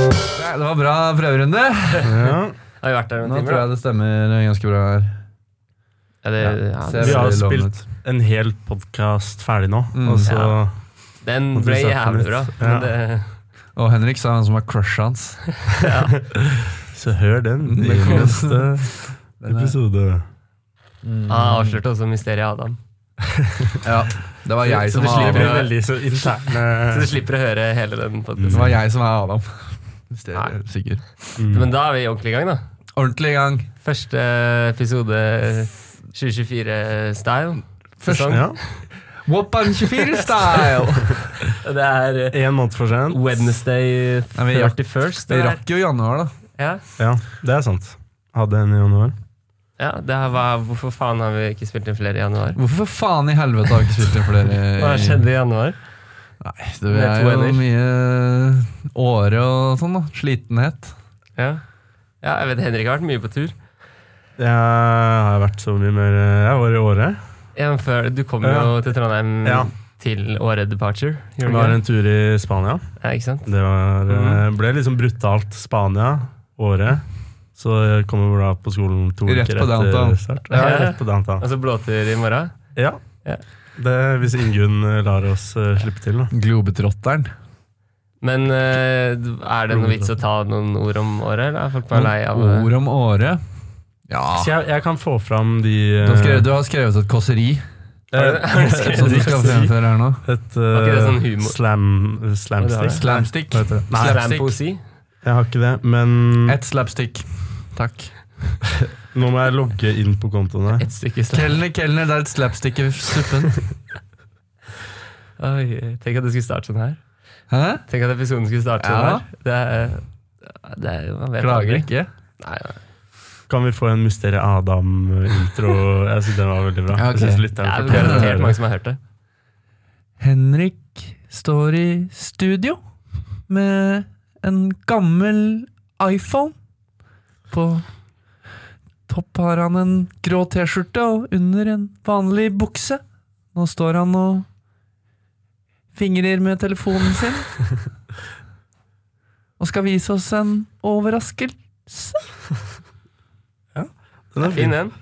Det var bra prøverunde. Ja. Har vi vært der Nå noen tror timer? jeg det stemmer ganske bra her. da? Ja, det, ja, ser det, Vi har veldig lovende spilt ut. en hel podkast ferdig nå, Mm. og så Ja. den Må ble vi snakke jævlig litt? bra. Ja. Men det, Og Henrik sa han som var crushet hans. Så hør den i Det kommer. neste Den er- Ah, episode. han avslørte også mysteriet Adam. Ja, det var jeg Så som du var slipper Det Adam. er å- veldig så interne Så du slipper å høre hele den Det podcasten. var jeg som var Adam. Hvis det er Nei. sikker. Mm. Men da er vi ordentlig i gang, da. Ordentlig i gang. Første episode 2024-style. Første- Sesong. Ja. Whoppan 24 style! Det er eh, Én måned for sent. Wednesday Nei, vi rakk- 31st. Vi det der. rakk jo januar, da. Ja, Ja, det er sant. Hadde en i januar. ja det her var, Hvorfor faen har vi ikke spilt inn flere i januar? Hvorfor for faen i helvete har vi ikke spilt inn flere? Hva skjedde i januar? Nei, det er jo Nettvenner. mye åre og sånn, da. Slitenhet. Ja. ja, jeg vet Henrik har vært mye på tur. Jeg har vært så mye mer eh, Jeg var i Åre. Ja, men før, du kom jo Ja. til Trondheim Ja. til året departure. Det Gjorde var du ikke? en tur i Spania. det? Ja, ikke sant? Det var, eh, ble liksom brutalt Spania, Åre. Så jeg kommer da på skolen to Rett uker på downtown. etter start. Ja, rett på downtown. Og så blåtur i morgen. Ja. Ja. Det, hvis Ingunn eh, lar oss eh, slippe til, da. Globetrotteren. Men eh, er det noe vits å ta noen ord om året, eller er folk bare lei av Ord om åre. Ja. Så jeg, jeg kan få fram de eh, Du har skrevet, du har skrevet et kåseri eh, som du skal fremføre her nå. Et ikke det sånn eh, humor? slam, slamstick. Slamstick. Hva heter det? Nei, slampoesi? jeg har ikke det, men Et slapstick. Takk. nå må jeg logge inn på kontoene. Et stykke slam. Kelner, kelner, det er et slapstick i suppen. Oi, tenk at det skulle starte sånn her. Hæ? Tenk at episoden skulle starte Ja. sånn her. Det er, eh, det er jo man vet Klager aldri. ikke. Nei, nei. Kan vi få en Mysteriet Adam-intro? Jeg syns den var veldig bra. Ja, ok. Jeg synes Det lytteren er fortjener å høre garantert det. mange som har hørt det. Henrik står i studio med en gammel iPhone. På topp har han en grå T-skjorte og under en vanlig bukse. Nå står han og fingrer med telefonen sin. Og skal vise oss en overraskelse. Den er Fin fin. en.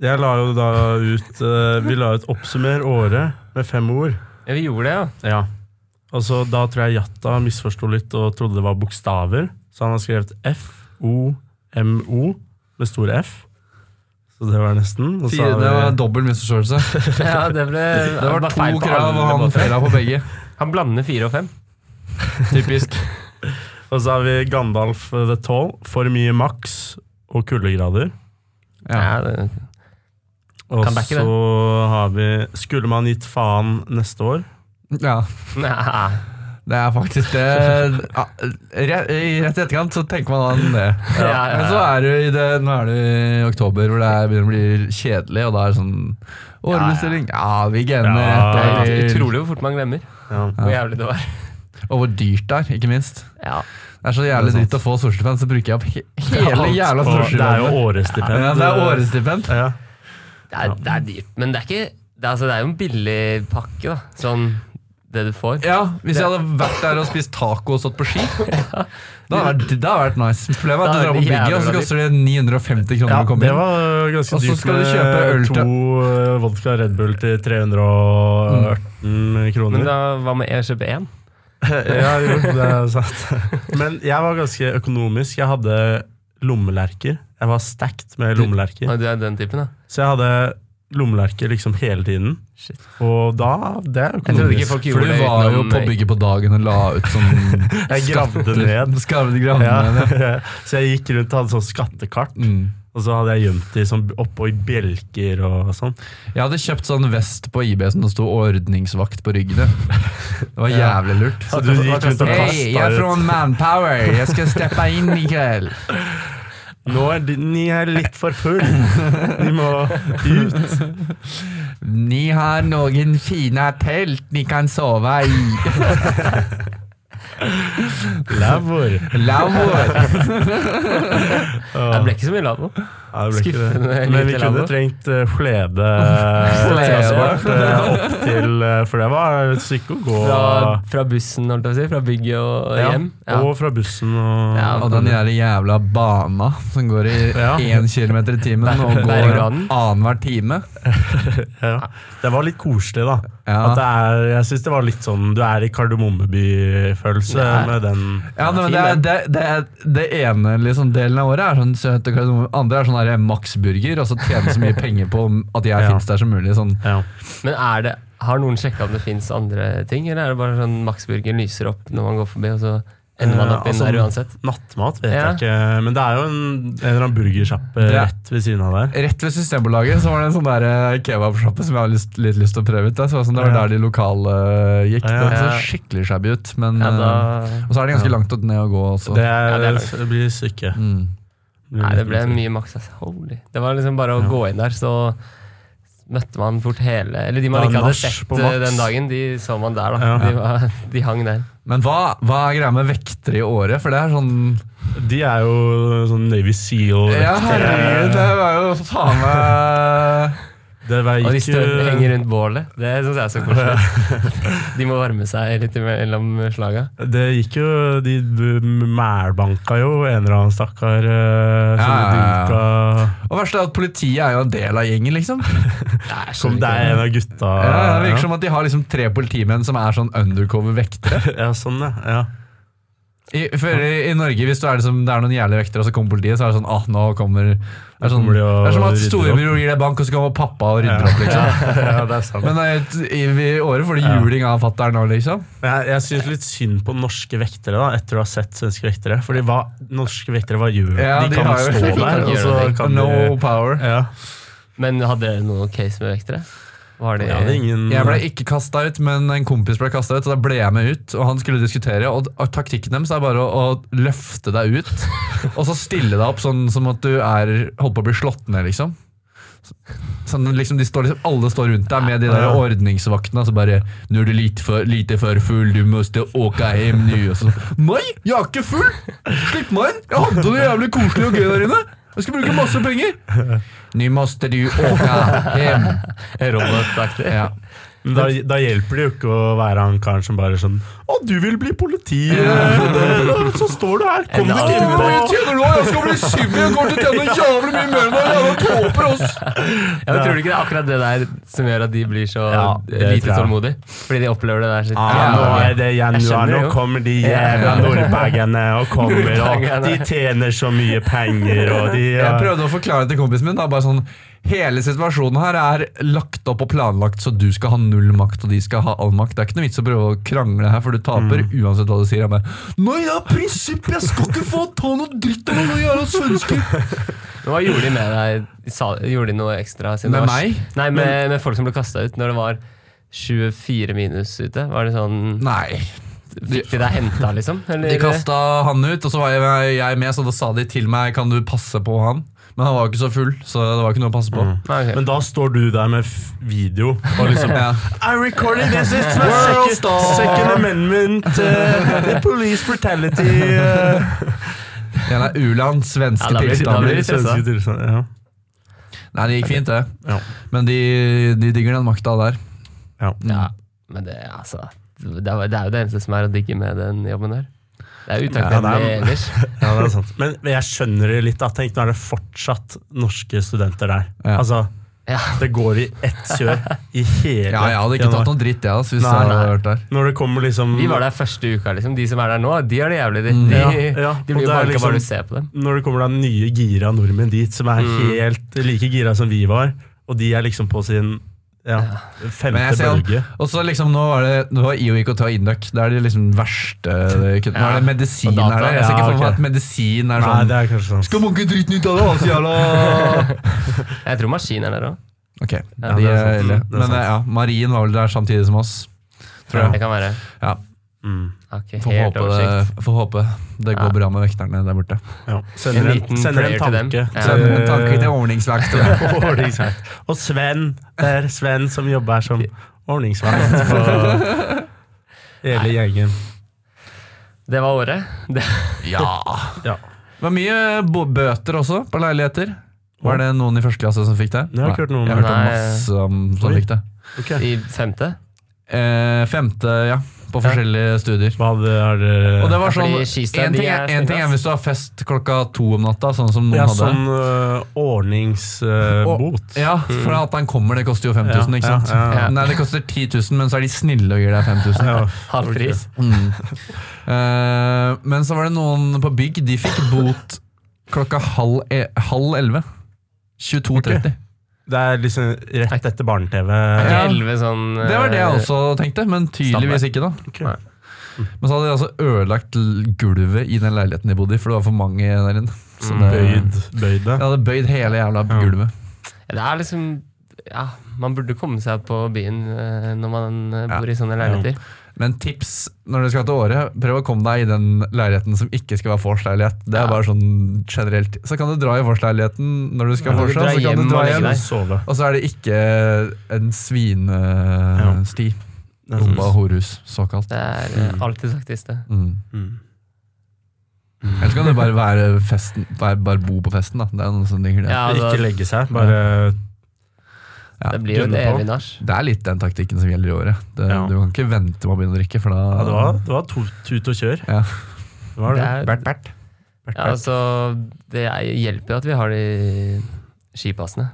Jeg la jo da ut eh, Vi la ut 'Oppsummer året' med fem ord. Ja, vi gjorde det, ja. Ja. Og så Da tror jeg Jatta misforsto litt og trodde det var bokstaver. Så han har skrevet F-O-M-O med stor F. Så det var nesten. Og så har vi- dobbel misforståelse. ja det, ble, var feil på alle måter. feila på begge. Han blander fire og fem. Typisk. Og så har vi Gandalf the Tall, for mye maks og kuldegrader. Ja, det, Og Kan backe det. så har vi Skulle man gitt faen neste år? ja. nei. Det er faktisk det ja, re- I rett i etterkant så tenker man an det. Ja, ja, ja. Men så er du i det, nå er du i oktober hvor det er, begynner å bli kjedelig, og da er det sånn Årbestilling. Ja, vi gener Ja. Det etter. er utrolig hvor fort man glemmer Ja. hvor jævlig det var. Og hvor dyrt det er, ikke minst. Ja. Det er så jævlig Det er sant. dritt å få solstipend, så bruker jeg opp he hele jævla Og det er jo solstipendet. årestipend. Ja, det er årestipend. Ja. Det er, det er dyrt, men det er ikke det er, altså, det er jo en billig pakke, da. Sånn det du får. Ja, hvis jeg hadde vært der og spist taco og stått på ski, da hadde det vært- det hadde vært nice. Problemet er at du Da drar er på det bygget, og jævla så dyrt. koster det 950 kroner Ja, å komme det inn. var ganske Og så dyrt skal du kjøpe øl med til- to eh, vodka Red Bull til Mm. 318 Men kroner. da, hva med ECB1? ja, jo, det er sant. Men jeg var ganske økonomisk. Jeg hadde lommelerker. Jeg var stacked med lommelerker. Du er den typen, da. Så jeg hadde lommelerker liksom hele tiden. Shit. Og da Det er Jeg trodde ikke økonomisk. folk For gjorde du det var jo utenom- på bygget på dagen og la ut sånn Jeg gravde ned. Skravde gravde ned. ja. Ja. Så jeg gikk rundt og hadde sånn skattekart, Mm. og så hadde jeg gjemt de sånn oppå i bjelker og sånn. Jeg hadde kjøpt sånn vest på IB som det sto 'ordningsvakt' på ryggen. Det var jævlig lurt. Så du gikk rundt og Hei, jeg er kasta fra Manpower. Jeg skal steppe inn i kveld. ut Nå er de, ni er litt for full. De må ut. Ni har noen fine telt ni kan sove i. Lavvor. Lavvoer. Det ble ikke så mye lavvo. Nei, det ble ikke det. Skuffende lite Men vi kunne lavvo. trengt eh, slede eh, Slede. transport eh, opp til eh, For det var sykt å gå. Fra, fra bussen, holdt jeg på å si. Fra bygget og Ja, hjem. Ja. Og fra bussen og Ja. Og den der jævla bana som går i Ja. 1 km i timen Ber- og går Bergraden. annenhver time. Ja. Det var litt koselig, da. At det Ja. er, jeg syns det var litt sånn Du er i Kardemommeby-følelse Ja. med den. Ja, nei, men det, er, Fin, det, det, er, det ene liksom, delen av året er sånn søte kardemomme. Andre er sånn der Max-burger, og så tjene så mye penger på at jeg Ja. finnes der som mulig. Sånn. Ja. Men er det, har noen sjekka om det fins andre ting, eller er det bare sånn Max Burger lyser opp når man går forbi, og så ender man Eh, opp inn altså, der uansett? Nattmat vet Ja. jeg ikke, men det er jo en, en eller annen burgersjappe Det er- rett ved siden av der. Rett ved Systembolaget så var det en sånn der, eh, kebabsjappe som jeg har lyst, litt lyst til å prøve ut. Det, så, det var sånn, det var Ja. der de lokale eh, gikk. Ja. Det så skikkelig shabby ut. Men, Ja, da, eh, og så er det ganske langt opp ned å gå også. Det, Ja, det er langt. det blir syke. Mm. nei, det ble mye Max. ass. Holy. Det var liksom bare å Ja. gå inn der, så møtte man fort hele Eller de man Det er ikke hadde nach sett på Max. eh, den dagen, de så man der, da. Ja. De, var, de hang der. Men hva, hva er greia med vektere i året? For det er sånn De er jo sånn Navy Seal. Ja, herregud, det var jo faen meg Det eh, var Og de ikke større henger rundt bålet. Det syns jeg er så koselig. De må varme seg litt mellom slaga. Det gikk jo De b- mælbanka jo en eller annen stakkar eh, som Ja, ja, de dunka Og verst er at politiet er jo en del av gjengen, liksom. Nei, jeg Som skjønner det ikke er en av gutta Ja, det virker som at de har liksom tre politimenn som er sånn undercover-vektere. Ja, sånn, ja. ja. I, for i, I Norge, hvis du er liksom, det er noen jævlige vektere, og så kommer politiet, så er det sånn ah, nå kommer Det er, sånn, kommer de og det er som at rydder storebror gir deg bank, og så kommer pappa og rydder opp, liksom. ja, det er sant. Men nei, i, i året får du Ja. juling av fatter'n nå, liksom. Men jeg, jeg syns litt synd på norske vektere da, etter å ha sett svenske vektere. Fordi hva, norske vektere, hva gjør Ja, de de? kan har jo- stå de kan der, og gjøre så det. kan No de power. ja. Men hadde dere noe case med vektere? Var det, Jeg hadde ingen Jeg ble ikke kasta ut, men en kompis ble kasta ut, og da ble jeg med ut. Og han skulle diskutere, og, og taktikken deres er bare å, å løfte deg ut. Og så stille deg opp sånn som at du er holdt på å bli slått ned, liksom. Så- Sånn, liksom, de står, liksom alle står rundt deg med de der Ja. ordningsvaktene og så bare 'Nå er du lite for, lite for full, du må åke hjem nå.' Og så 'Nei, jeg er ikke full! Slipp meg inn! Jeg hadde det jævlig koselig og gøy der inne! Jeg skal bruke masse penger!' 'Nå måste du åke hjem'. robotaktig? Ja. Men da, da hjelper det jo ikke å være han karen som bare sånn Å, du vil bli politi! eh, det- det- Så står du her! Kom deg En annen- inn Hvor mye på tjener du? Jeg skal bli syvende og går til å tjene jævlig mye mer enn deg! Jævla tåper, ass! Ja, men tror du ikke det er akkurat det der som gjør at de blir så Ja, det lite tror jeg. Ah, tålmodige? Fordi de opplever det der sitt Ja, Ja, nå ja. er det januar, skjønner nå jo. kommer de jævla nordbagene og kommer, og de Nordbagene. tjener så mye penger, og de ja. Jeg prøvde å forklare til kompisen min. Da, bare sånn, hele situasjonen her er lagt opp og planlagt, så du skal ha null makt, og de skal ha all makt. Det er ikke noe vits å prøve å krangle her, for du taper Mm. uansett hva du sier. Jeg bare, Nei, det er prinsipp! Jeg skal ikke få ta noe dritt av noen jævla svensker! Men Hva gjorde de med deg? Sa, gjorde de noe ekstra? siden Med det var- meg? Nei, med, med folk som ble kasta ut når det var 24 minus ute? Var det sånn Nei. Fikk de deg henta, liksom? Eller- De kasta han ut, og så var jeg- jeg med, så da sa de til meg Kan du passe på han. Men han var jo ikke så full, så det var ikke noe å passe på. Nei, ok. Men da står du der med f- video og Mm. liksom Ja. I recorded this is my World second, star. second amendment uh, the police brutality uh. Jævla u-land, svenske Ja, da blir- da tilstander. blir- stressa. Svenske sånn, tilstand, ja. Nei, det gikk fint, det. Ja. Men de, de digger den makta der. Ja. Ja, men det, altså, det, er, det er jo det eneste som er å digge med den jobben der. Det er Ja, det utakknemlig er- ellers. ja, det er sant. Men men jeg skjønner det litt. da Tenk, Nå er det fortsatt norske studenter der. Ja. Altså, Ja. Det går i ett kjør i hele Ja, jeg hadde ikke januar. tatt noe dritt, jeg, altså, hvis Nei, jeg hadde nei. vært der. Når det kommer liksom Vi var der første uka, liksom. De som er der nå, de har det jævlig. De, de, Ja, ja. de Og det blir jo er banka liksom- bare du ser på dem. Når det kommer da nye gira nordmenn dit, som er Mm. helt like gira som vi var, og de er liksom på sin ja, Men femte jeg ser bølge. han- Og så liksom, nå var det Nå var IOIK og Induc. Det er de liksom verste det kutten. Nå er det medisin Og data. her der. Jeg ser ikke Ja, for meg ok. at medisin er Nei, sånn det er kanskje sånn. Skal mange dritten ut av det, altså, jævla Jeg tror maskinen er der òg. Ok, Ja, de det er er sant. ille. Mm, det er Men sant. eh, ja, Marien var vel der samtidig som oss. Tror Det jeg. kan være. Ja, Mm. Ok, får, helt håpe oversikt. det, får håpe det går Ja. bra med vekterne der borte. Ja. Sender En en, liten sender en prayer til dem. tanke. Ja. Så en tanke til ordningsvakt. ordningsvakt. Og Sven. Det er Sven som jobber som ordningsvakt på hele gjengen. Det var året. Det, Ja. Ja. Det var mye bo- bøter også på leiligheter. Var det noen i første klasse som fikk det? Jeg har ikke hørt noe om Jeg har det. hørt om Nei. masse om som Oi. fikk det. Ok. I femte? Eh, femte, ja. På forskjellige studier. Hva hadde, har dere Og det var Ja, sånn, fordi Skistad, En de ting, er er- en ting er hvis du har fest klokka to om natta, sånn som noen ja, hadde. sånn Og- ordningsbot. Ja, for at han kommer, det koster jo 5000, ikke sant? Mm. Ja, ja, Ja. Nei, det koster 10 000, men så er de snille og gir deg 5000. ja. Halv pris? Mm. Eh, men så var det noen på bygg, de fikk bot klokka halv, e halv 11. 22.30. Det er liksom rett etter barne-TV. Er Ja. ikke elleve sånn Det var det jeg eh, også tenkte, men tydeligvis ikke. da Ok. Nei. Men så hadde de altså ødelagt l- gulvet i den leiligheten de bodde i, for det var for mange der inne. Så Mm. det- Bøyd, bøyd det. De hadde bøyd hele jævla Ja. gulvet. Det er liksom Ja, man burde komme seg på byen eh, når man eh, Ja. bor i sånne leiligheter. Men tips når du skal til Åre, prøv å komme deg i den leiligheten som ikke skal være vorsleilighet. Det er Ja. bare sånn generelt. Så kan du dra i vorsleiligheten når du skal Ja, ja, du vorsa, drar så kan hjem du dra og legger hjem. deg. liksom Sove. Og så er det ikke en svinesti. Mm. Bomba og horhus, såkalt. Det er eh, alltid saktist, det. Mm. Mm. Ellers kan det bare være festen, bare, bare bo på festen, da. Det er noen sånne ting. Det. Ja, altså, Ikke legge seg, bare Ja. det blir jo et gunne på. evig nach. Det er litt den taktikken som gjelder i året. Det, Ja. Du kan ikke vente med å begynne å drikke, for da ja, det, var, det var to, tut og kjør. Ja. Det var det. Det er- Bert, Bert. Bert, Ja, altså, det er- hjelper jo at vi har de skipassene.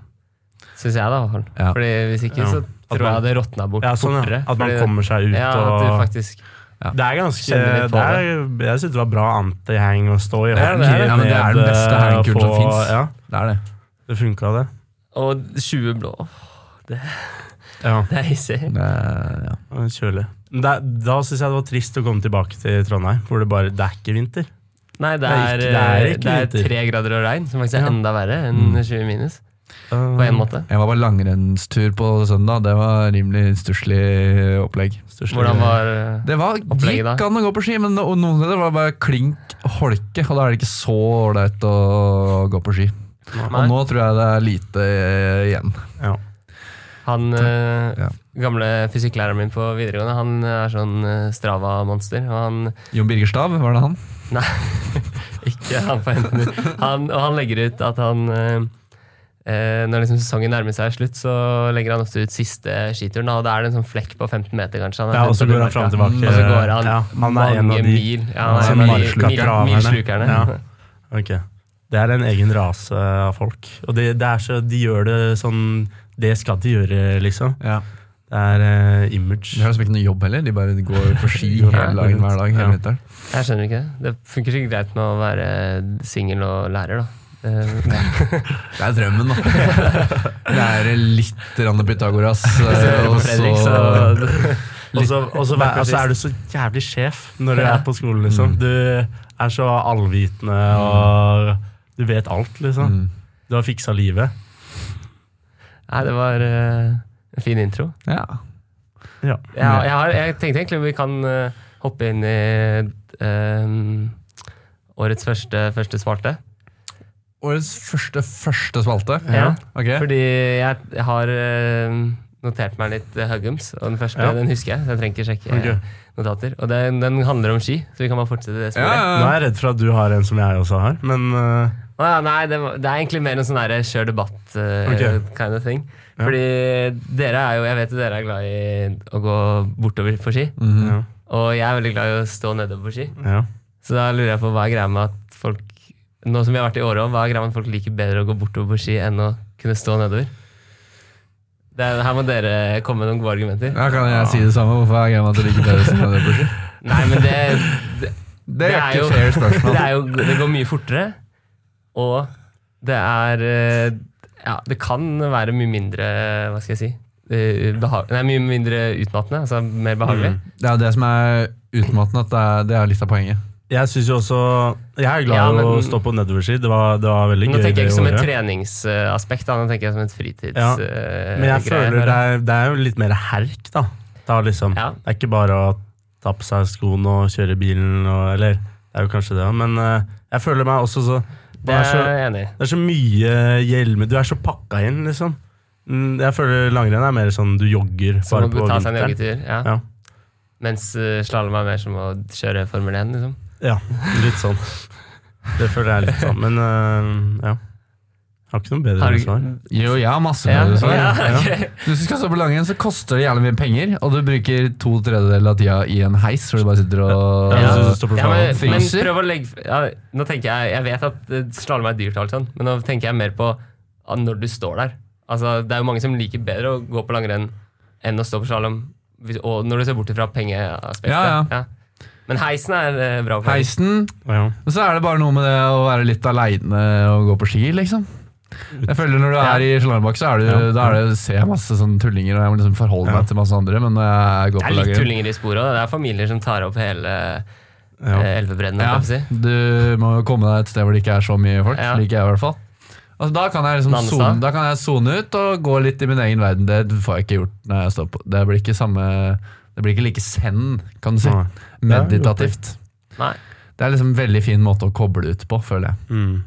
Syns jeg, da. i hvert fall. Ja. Fordi Hvis ikke, Ja. så At tror man- jeg det råtna bort Ja, sånn, ja. fortere. At man Fordi- kommer seg ut ja, at du og faktisk Det er ganske kjenner det litt på er, Jeg syns det var bra anti-hang å stå i eh, Det er det, det er det. Ja, men det er den beste hangkuren som finnes. Ja, Det er det. det funka, det. Og 20 blå. Ja, Det er hissig. det er- ja. det var Kjølig. Men det, da syns jeg det var trist å komme tilbake til Trondheim, hvor det bare Det er ikke vinter. Nei, det Det er er, eh, ikke- det er ikke det er vinter. tre grader og regn, som faktisk er Ja. enda verre enn Mm. 20 minus. Um, På en måte. Jeg var på langrennstur på søndag. Det var rimelig stusslig opplegg. Største- Hvordan var Det var, Opplegget da? gikk an å gå på ski, men no- noen steder var det bare klink holke. Og da er det ikke så ålreit å gå på ski. Og Nei, nå tror jeg det er lite eh, igjen. Ja. han eh, Ja. gamle fysikklæreren min på videregående, han er sånn eh, Strava-monster. Og han Jon Birger Stav, var det han? Ikke han på hendene. Han, og han legger ut at han eh, eh, Når liksom sesongen nærmer seg slutt, så legger han ofte ut siste skituren. da, Og da er det en sånn flekk på 15 meter, kanskje. Han Ja, og så går han fram og tilbake. Og så går han, ja, han er mange en av de. mil. Ja, han er Som en av de milslukerne. mil- milslukerne. Ja. Ok. Det er en egen rase av folk. Og det, det er så, de gjør det sånn Det skal de gjøre, liksom. Ja. Det er eh, De image. har liksom ikke noe jobb heller. De bare går på ski hele dagen hver dag Ja. hele vinteren. Jeg skjønner ikke det. Det funker sikkert greit med å være singel og lærer, da. Eh, Det er drømmen, da. Lære litt grann Pythagoras. eh, hvis du hører Og på Fredrik, så Og så og så vær- altså, er du så jævlig sjef når du Ja. er på skolen, liksom. Mm. Du er så allvitende Mm. og du vet alt, liksom. Mm. Du har fiksa livet. Nei, det var eh, en fin intro. Ja. Ja. Ja, jeg, har, jeg tenkte egentlig vi kan eh, hoppe inn i ehm, årets første, første svarte. Årets første første spalte. Ja. Ok. Fordi jeg har ehm, notert meg litt eh, Huggums, og den første Ja. den husker jeg. Så jeg trenger ikke sjekke eh, Ok. notater. Og den, den handler om ski, så vi kan bare fortsette det Ja, sporet. Nå er jeg redd for at du har en som jeg også har, men eh, Å ja, nei, det, var- det er egentlig mer en sånn derre kjør debatt eh, Ok. kind of thing. Ja. Fordi dere er jo Jeg vet jo dere er glad i å gå bortover på ski, Mhm. ja. og jeg er veldig glad i å stå nedover på ski. ja. Så da lurer jeg på hva er greia med at folk Nå som vi har vært i Åre også, hva er greia med at folk liker bedre å gå bortover på ski enn å kunne stå nedover? Det er, her må dere komme med noen gode argumenter. Ja, kan jeg si det samme? Hvorfor er greia at det ligger bedre som det er på ski? Nei, men det, det, Det er er ikke jo- fair spørsmål. det er jo Det går mye fortere, og det er eh, Ja, det kan være mye mindre Hva skal jeg si? eh, beha- Nei, mye mindre utmattende. Altså mer behagelig. Mm. Det er jo det som er utmattende, at det er, det er litt av poenget. Jeg syns jo også Jeg er glad i Ja, men- å stå på nedoverski. Det var, det var veldig Nå gøy. tenker det jeg ikke som et året. treningsaspekt, da. Nå tenker jeg som et fritids... Ja, eh, Men jeg greie. føler det er, det er jo litt mer herk, da. da liksom, Ja. Det er ikke bare å ta på seg skoene og kjøre bilen og Eller, det er jo kanskje det òg, men eh, jeg føler meg også så Det det er, så er jeg enig i. det er så mye hjelmer. Du er så pakka inn, liksom. Mm, Jeg føler langrenn er mer sånn du jogger Som bare å på ta seg en vinteren. joggetur. Ja. Ja. Mens uh, slalåm er mer som å kjøre Formel 1, liksom. Ja, litt sånn. Det føler jeg litt sånn, men eh, ja. Har ikke noe bedre Har du- svar. Jo, jeg har masse Ja, bedre svar. ja, Ja. ok. Hvis du skal stå på langrenn, så koster det jævlig mye penger, og du bruker to tredjedeler av tida i en heis hvor du bare sitter og Ja, Ja. hvis du står på Ja, men, planen. men Fryser? prøv å legge ja, Nå tenker jeg Jeg vet at eh, slalåm er dyrt, og alt sånt, men nå tenker jeg mer på ah, når du står der. Altså, det er jo mange som liker bedre å gå på langrenn enn å stå på slalåm. hvis- Og når du ser bort ifra pengeaspektet. Ja, ja. Men heisen er eh, bra. poeng. Heisen. Ja. Og så er det bare noe med det å være litt aleine og gå på ski, liksom. Jeg føler Når du er i slalåmbakk, så er du, Ja. da er det, ser jeg masse sånne tullinger. Og jeg må liksom forholde Ja. meg til masse andre, men når jeg går Det på er litt langrenn tullinger i sporet. også. Det er familier som tar opp hele Ja. eh, elvebredden. ja, holdt jeg på å si. Du må jo komme deg et sted hvor det ikke er så mye folk. Ja. Liker jeg i hvert fall. Altså, da, kan jeg liksom Nannestad? zone, da kan jeg sone ut og gå litt i min egen verden. Det får jeg ikke gjort når jeg står på. Det blir ikke samme Det blir ikke like zen, kan du si. Nei. Meditativt. Nei. Det er liksom en veldig fin måte å koble ut på, føler jeg. Mm.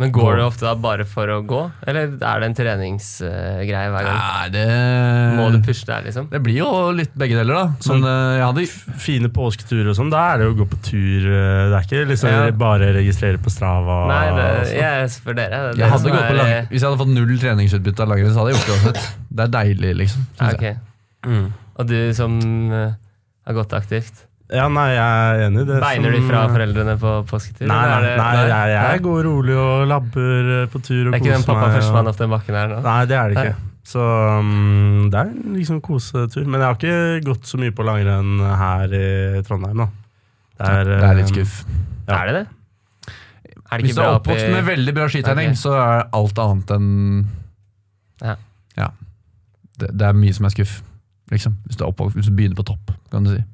Men går du ofte da bare for å gå, eller er det en treningsgreie hver gang? Nei, det Må du pushe der, liksom? Det blir jo litt begge deler, da. Sånn- Mm. Men eh, jeg hadde Fine påsketurer og sånn, da er det jo å gå på tur. eh, Det er ikke liksom Ja. bare registrere på Strava. Nei, det, og sånn. jeg er for dere. Det er jeg dere hadde som gått på er, eh, lang, Hvis jeg hadde fått null treningsutbytte av langrenn, så hadde jeg gjort det uansett. Det er deilig, liksom. eh, synes jeg. ok. Mm. Og du som eh, har gått aktivt, Ja, nei, jeg er enig i det. beiner du som- fra foreldrene på påsketur? Nei, eller er nei, det- nei jeg, jeg går rolig og labber eh, på tur og Det er ikke den pappa førstemann opp den bakken her nå? Nei, det er det ikke. Så um, det er en liksom kosetur. Men jeg har ikke gått så mye på langrenn her i Trondheim, da. Det er, Det er litt um, skuff. Ja. Er det det? Er det Hvis ikke du bra er oppi oppvokst med veldig bra skitrening, Ok. så er alt annet enn Ja. Ja. Det, det er mye som er skuff, liksom. Hvis du, er oppvokst, hvis du begynner på topp, kan du si.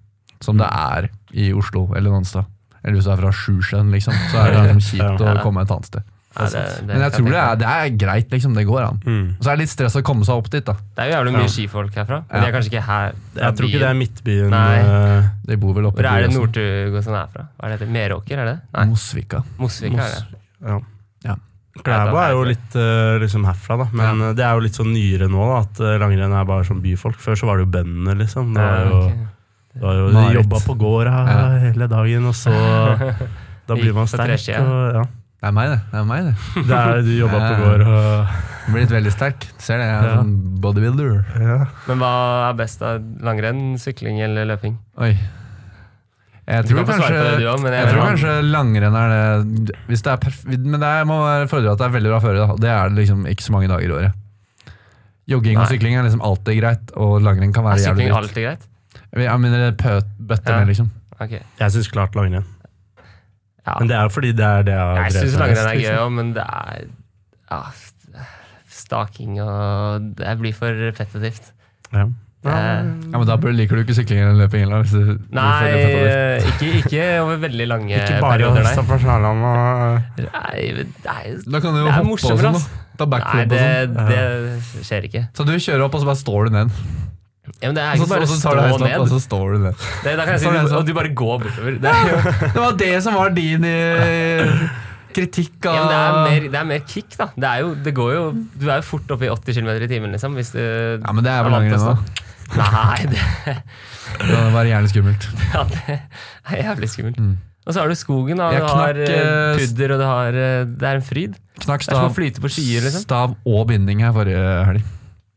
Som det er i Oslo eller Nonstad. Eller hvis du er fra Sjusjøen, liksom. Så er det liksom kjipt Ja. å komme et annet sted. Nei, det, det, Men jeg kan tror det tenke er, det er greit, liksom. Det går an. Mm. Og så er det litt stress å komme seg opp dit, da. meg. Det er jo jævlig Ja. mye skifolk herfra. Men Ja. de er kanskje ikke her. fra Jeg tror ikke det byen. er Midtbyen. Nei. eh, De bor vel oppe Hvor er det Byåsen. Northug og sånn er fra? Hva er det heter? Meråker, er det? Nei, Mosvika. Mosvika er det. Ja. Ja. Klæbo er jo litt eh, liksom herfra, da. Men eh, det er jo litt sånn nyere nå, da, at eh, langrenn er bare sånn byfolk. Før så var det jo bøndene, liksom. Det var jo, Ja, ok. det var jo, de Marit. jobba på gårda Ja. hele dagen, og så Da blir man Gikk på sterk. treskia. Og, ja. Det er meg, det. det, er meg, det. Det er du jobba på Ja. gård og Jeg blir litt veldig sterk. Ser det, jeg er Ja. sånn bodybuilder. ja. Men hva er best av langrenn, sykling eller løping? Oi. Jeg Du tror kan få svare kanskje, på det du også, men jeg jeg tror vil ha- kanskje langrenn er det hvis det er perf Men det er- må være fordre at det er veldig bra føre. da. Det er det liksom ikke så mange dager i året. Jogging og Nei. sykling er liksom alltid greit, og langrenn kan Er være jævlig sykling dritt. alltid greit? Jeg mener pøt, bøtter Ja. med, liksom. Ok. Jeg syns klart langrenn. Ja. Men det er jo fordi det er det jeg har Jeg drevet syns med langrenn er mest, gøy òg, men det er ja, staking og Det blir for repetitivt. liksom. Ja. Eh, Ja, Men da bør- liker du ikke sykling eller løping? Eller, hvis du, Nei, hvis du føler eh, fett ikke, ikke over veldig lange Ikke bare å perioder, høste på slalåm og nei. Nei, men det er- over. Da kan du jo Det er hoppe og morsommere, sånn. ass. da. Ta Nei, backflip og sånn. det, det skjer ikke. Så du kjører opp, og så bare står du ned. Ja, men det er Og så, ikke bare og å så tar stå du heisen opp, og ned. så står du ned. Det, da kan jeg si, Så er det du- sånn. og du bare går bortover. Det er, jo- Det var det som var din eh, kritikk av ja, men det, er mer, det er mer kick, da. Det er jo, det går jo, du er jo fort oppe i 80 km i timen, liksom. Hvis du Ja, men det er er vel vant til langrenn å da. stå. Nei, det, Det var gjerne skummelt. ja, det er jævlig skummelt. Mm. Og så har du skogen, da. Jeg Du har knakk, eh, eh, pudder, og du har eh, Det er en fryd. Knakk Det er som å stav, flyte på skier, liksom. stav og binding her forrige helg.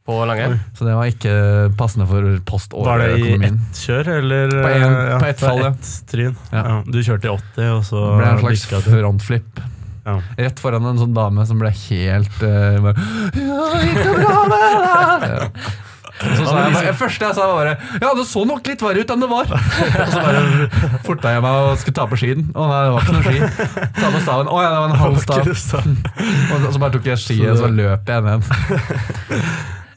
På langrenn. Så det var ikke passende for Var det i poståreøkonomien. ett kjør, eller? eh, På en- ja, på ett fall, ja. ett tryn. Ja. Ja, Du kjørte i 80, og så Det ble en slags bikka du. frontflip. Ja. Rett foran en sånn dame som ble helt eh, bare, ja, gikk det bra med deg? Ja. liksom- Så sa jeg bare, det første jeg sa var bare Ja, det så nok litt verre ut enn det var. Og så bare forta jeg meg og skulle ta på skien. Å nei, det var ikke noe ski. Ta på staven. Å ja, det var en halv stav. Og så bare tok jeg skien, og så løp jeg ned.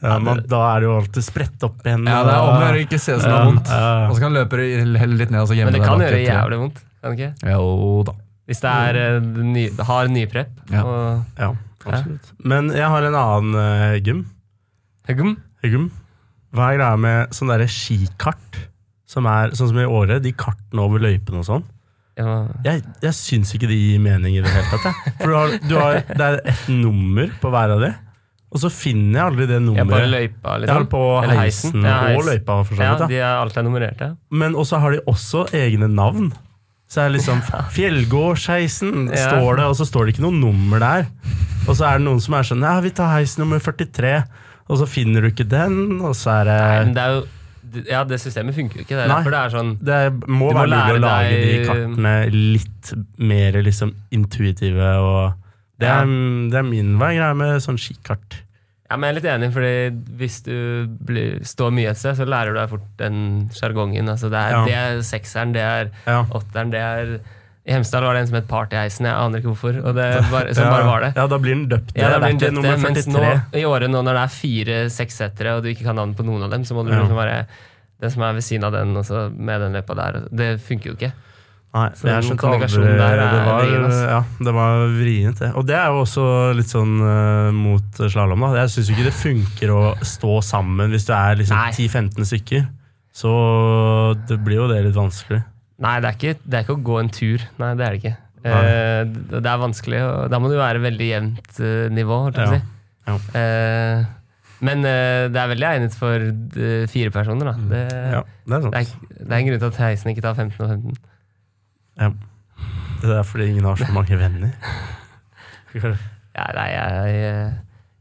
Ja, men da er det jo alltid spredt opp igjen. Ja, det er om å gjøre å ikke se som noe vondt. Altså, Ja, Og så kan løpere helle litt ned og så gjemme Men det kan gjøre etter. jævlig vondt. Kan det ikke? Jo da. Hvis det er eh, ny, har nyprep. Ja. Og ja, absolutt. Men jeg har en annen eh, gym. Huggum. Huggum. Hva er greia med sånn derre skikart? Som er sånn som i året, de kartene over løypene og sånn. Ja. Jeg, jeg syns ikke det gir mening i det hele tatt. Jeg. For du har, du har, det er ett nummer på hver av de, og så finner jeg aldri det Jeg nummeret. bare løypa, Jeg har liksom. på Eller heisen. heisen Ja, heis. og løypa, for så Ja, vidt. da. de er alltid nummererte. Men også har de også egne navn. Så er det liksom Fjellgårdsheisen, Ja. står det, og så står det ikke noe nummer der. Og så er det noen som er sånn Ja, vi tar heis nummer 43, og så finner du ikke den, og så er det Nei, men det er jo Ja, det systemet funker jo ikke. Det er Eh. Nei. derfor det er sånn Det må Du må være mulig å lære lage de deg- kartene litt mer liksom intuitive og Det er, det er min vei greia med sånn skikart. Ja, men jeg er litt enig, fordi hvis du blir, står mye et sted, så lærer du deg fort den sjargongen. Altså, det, er- Ja. det er sekseren, det er Ja. åtteren, det er I Hemsedal var det en som het Partyheisen, jeg aner ikke hvorfor. Og det bare, som Sånn bare var det. Ja, da blir den døpt. Ja, da det blir er det ikke døpt, nummer det, mens 43. nå, i året nå når det er fire sekssettere, og du ikke kan navnet på noen av dem, så må du Ja. liksom bare Den som er ved siden av den, og så med den løpa der. og- Det funker jo ikke. Nei, Så det er den skjønt kommunikasjonen aldri- der er det var, vrien, ass. Ja, det var vrient, det. Og det er jo også litt sånn eh, mot slalåm, da. Jeg syns ikke det funker å stå sammen hvis du er liksom 10-15 Nei. stykker. Så det blir jo det litt vanskelig. Nei, det er ikke, det er ikke å gå en tur. Nei, det er det ikke. Nei. Eh, det det er vanskelig, og da må det jo være veldig jevnt eh, nivå, holdt jeg på å si. Ja. Eh, men eh, det er veldig egnet for eh, fire personer, da. Mm. Det, Ja, det er sånn. det, sant. er, det er en grunn til at heisen ikke tar 15 og 15. Det er fordi ingen har så mange venner. Ja, nei, jeg, jeg,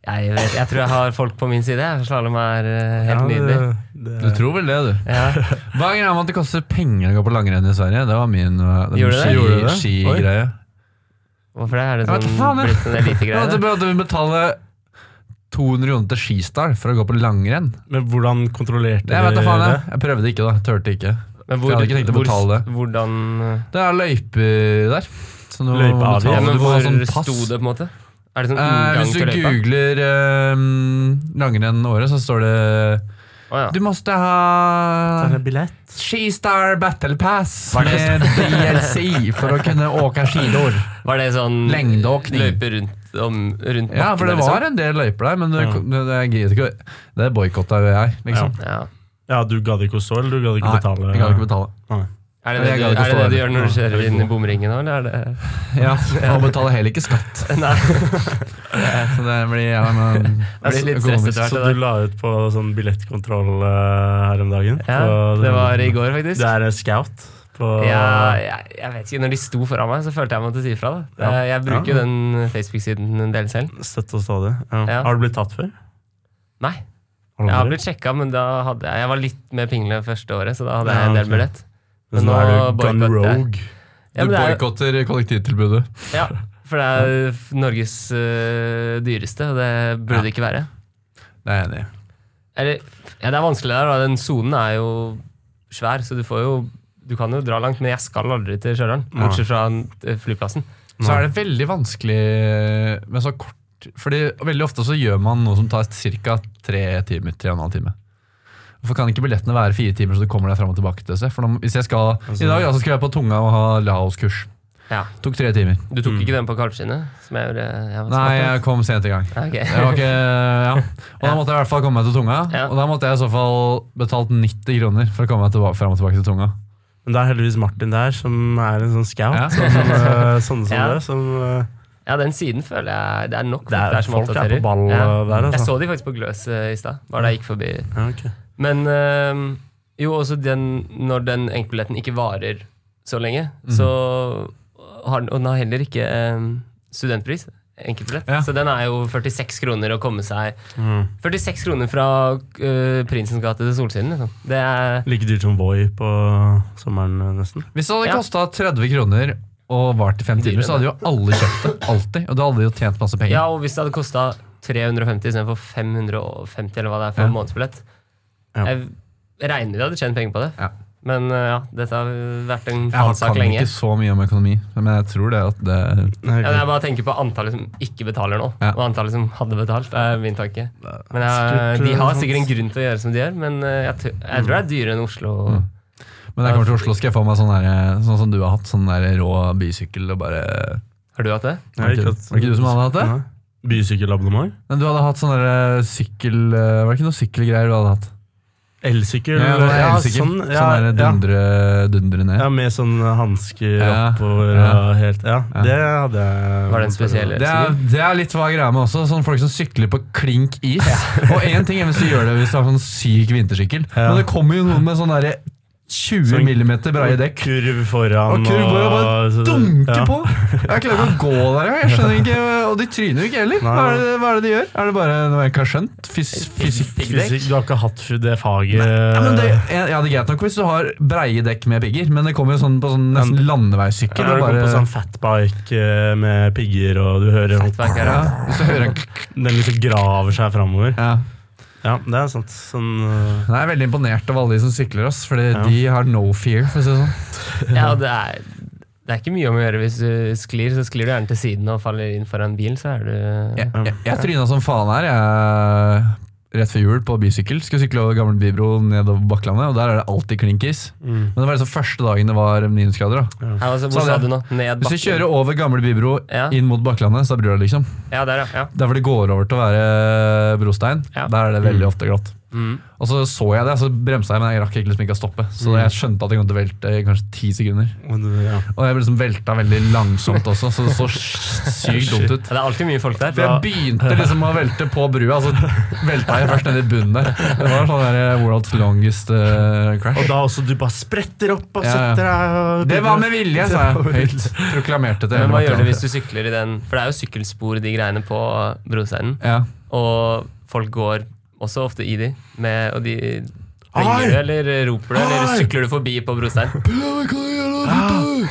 jeg, vet, jeg tror jeg har folk på min side. jeg. Slalåm er eh, helt Ja, det- nydelig. det- Du tror vel det, du. Ja. Hva er greia med at det koster penger å gå på langrenn i Sverige? Det var min uh, den Gjorde det? ski- Gjorde det? Oi. skigreie. Hvorfor det? Er det Jeg vet sånn, da faen, jeg. blitt en Ja, elitegreie? at du da? måtte betale 200 kroner til Skistar for å gå på langrenn. Men hvordan kontrollerte Jeg vet da dere faen, jeg. det? Jeg prøvde ikke, da. Turte ikke. Men jeg hadde ikke tenkt å betale det. Hvordan Det er løyper der. Så nå må du Løypeavgift. betale. ja, men Du må ha Hvor sånn pass. sto det, på en måte? Er det sånn Eh, inngang hvis til du løypa? googler eh, langrenn-året, så står det Å, ja. Du måste ha Er det billett? Skistar Battle Pass Var det- med DLC for å kunne åke skidor. Var det sånn Lengdeåkning. løype rundt, om, rundt liksom? Ja, for det bakkene, var en del løyper der, men det, Ja. det, det, jeg gidder ikke. å- Det boikotta jo jeg, liksom. Liksom. Ja. Ja, du gadd ikke å stå, eller du gadd ikke Nei, betale? jeg kan ikke betale. Er det Men det, jeg du, gadd ikke er det, stå det du her. gjør når du Ja, det kjører er inn i god. bomringen nå, eller er det Ja, og betaler heller ikke skatt. Nei. Så det blir ja, men, Jeg blir litt økonomisk. stresset Så du la ut på sånn billettkontroll eh, her om dagen? Ja, På- det var i går, faktisk. Du er en scout på Ja, jeg, jeg vet ikke. Når de sto foran meg, så følte jeg jeg måtte si ifra. da. Eh, Ja. Jeg bruker jo Ja. den Facebook-siden en del selv. Støtte og stadig. Ja. Ja. Har du blitt tatt før? Nei, jeg har blitt sjekka, men da hadde jeg Jeg var litt med pingle første året, så da hadde jeg Ja, en ok. del billett. Men men nå er nå du gun boykotter jeg. rogue. Ja, men Du det er, boikotter kollektivtilbudet. ja, for det er f- Norges øh, dyreste, og det burde det ikke være. Det er jeg enig i. Eller, ja, det er vanskelig der, da. Den sonen er jo svær, så du får jo Du kan jo dra langt, men jeg skal aldri til Stjørdal, Nei. bortsett fra øh, flyplassen. Så er det veldig vanskelig med så kort Fordi veldig ofte så gjør man noe som tar ca. tre timer. tre og en halv time. Hvorfor kan ikke billettene være fire timer, så du kommer deg fram og tilbake? til seg? For nå, hvis jeg skal, I dag ja, så skal jeg på Tunga og ha Laos-kurs. Altså- Ja. Tok tre timer. Du tok Mm. ikke den på kalvskinnet? Som jeg gjorde? Jeg var Nei, smart, jeg kom sent i gang. da. Ja, ok. Jeg var ikke, ja. Og da måtte jeg i hvert fall komme meg til Tunga. Ja. Og da måtte jeg i så fall betalt 90 kroner for å komme meg tilbake, fram og tilbake til Tunga. Men det er heldigvis Martin der, som er en sånn scout. Ja. Sånn, som, eh, sånne som Ja. det. Som, eh, Ja, den siden føler jeg det er nok. det er, som folk er oppdaterer. på ball Ja. eh, der, Jeg altså. så de faktisk på Gløs eh, i stad, bare da jeg gikk forbi. Ja, ok. Men øhm, jo, også den, når den enkeltbilletten ikke varer så lenge, Mhm. så har den, og den har heller ikke øhm, studentpris. Enkeltbillett. Ja. Så den er jo 46 kroner å komme seg Mm. 46 kroner fra øh, Prinsens gate til Solsiden, liksom. Det er Like dyrt som Voi på sommeren, eh, nesten. Hvis det hadde Ja. kosta 30 kroner og vart i fem timer, så hadde jo alle kjøpt det. Alltid. Og da hadde de jo tjent masse penger. Ja, og hvis det hadde kosta 350 istedenfor 550, eller hva det er for Ja. en månedsbillett Ja. Jeg regner de hadde tjent penger på det. Ja. Men uh, ja, dette har vært en Jeg har- faensak kan lenge. ikke så mye om økonomi, men jeg tror det at det Nei, Ja, men jeg bare tenker på antallet som ikke betaler nå, Ja. og antallet som hadde betalt. Det er min tanke. det- Men jeg, Sikkert, De har eh, sikkert sånn- en grunn til å gjøre som de gjør, men uh, jeg, tø- jeg tror det er dyrere enn Oslo. Mm. Men når jeg kommer til Oslo, skal jeg få meg sånn, der, sånn som du har hatt. Sånn der rå bysykkel og bare Har du hatt det? Nei, Var at- ikke- var ikke du som hadde hatt det? Nei. Bysykkelabonnement? Men du hadde hatt sånn der sykkel... eh, Var det ikke noe sykkelgreier du hadde hatt? Elsykkel? Ja, det var elsykkel. sånn, sånn, ja, der ja. dundre, dundre ned. Ja, med sånn hansker Ja. oppover Ja. og helt Ja, Ja. det hadde jeg Var det en spesiell- Det er, det er litt hva greia med også. Sånn Folk som sykler på klink is. Og én ting er hvis du gjør det hvis du har sånn syk vintersykkel, Ja. men det kommer jo noen med sånn derre Sånn- 20 millimeter breie dekk. Kurv foran Og kurv hvor jeg bare dunker Ja. på! Jeg klarer ikke å gå der engang. Jeg skjønner ikke, og de tryner jo ikke heller. Hva er, det, hva er det de gjør? Er det bare noe jeg ikke har skjønt? Fys Eh, fysikk? Piggdekk. Fysikk, du har ikke hatt det faget Ja, men det, eh, ja, det er greit nok hvis du har breie dekk med pigger, men det kommer jo sånn på sånn nesten Når landeveissykkel. og du går på bare- sånn fatbike eh, med pigger, og du hører sånn- Nettverk her, ja, ja. hvis du hører en den liksom graver seg framover. ja. Ja, det er sant. Sånn, eh, Nei, Jeg er veldig imponert over alle de som sykler, oss, fordi Ja. de har no fear. for å si det sånn. ja det, er, det er ikke mye om å gjøre hvis du sklir. Så sklir du gjerne til siden og faller inn foran bil, så er du Jeg, jeg, jeg tryna som faen her. Jeg, rett før jul på bysykkel. Skulle sykle over gammel bybro nedover Bakklandet, og der er det alltid klinkis. mm, Men det var liksom første dagen det var minusgrader. da. ja, altså, Hvor Så sa det- du nå? Ned Sånn, Hvis du kjører over gamle bybro Ja. inn mot Bakklandet, så bryr du deg liksom. Ja, der, ja. ja. Der hvor det går over til å være brostein, Ja. der er det veldig ofte glatt. Mm. Og så så jeg det, så bremsa jeg, men jeg rakk ikke liksom ikke å stoppe. Så jeg skjønte at jeg kom til å velte i kanskje ti sekunder. og du- ja. Og jeg ble liksom velta veldig langsomt også, så det så sykt dumt ut. Ja, Det er alltid mye folk der. For jeg begynte liksom å velte på brua, så velta jeg først ned i bunnen der. Det var sånn der world's longest eh, crash. Og da også du bare spretter opp og Ja, ja. setter deg og Det var med vilje, sa jeg høyt. Proklamerte til Men hva gjør du hvis du sykler i den? For det er jo sykkelspor, de greiene på brosteinen. ja. Og folk går også ofte i de, med, og de Hei! høyer du, eller roper du, eller Hei! sykler du forbi på brosteinen? Ah.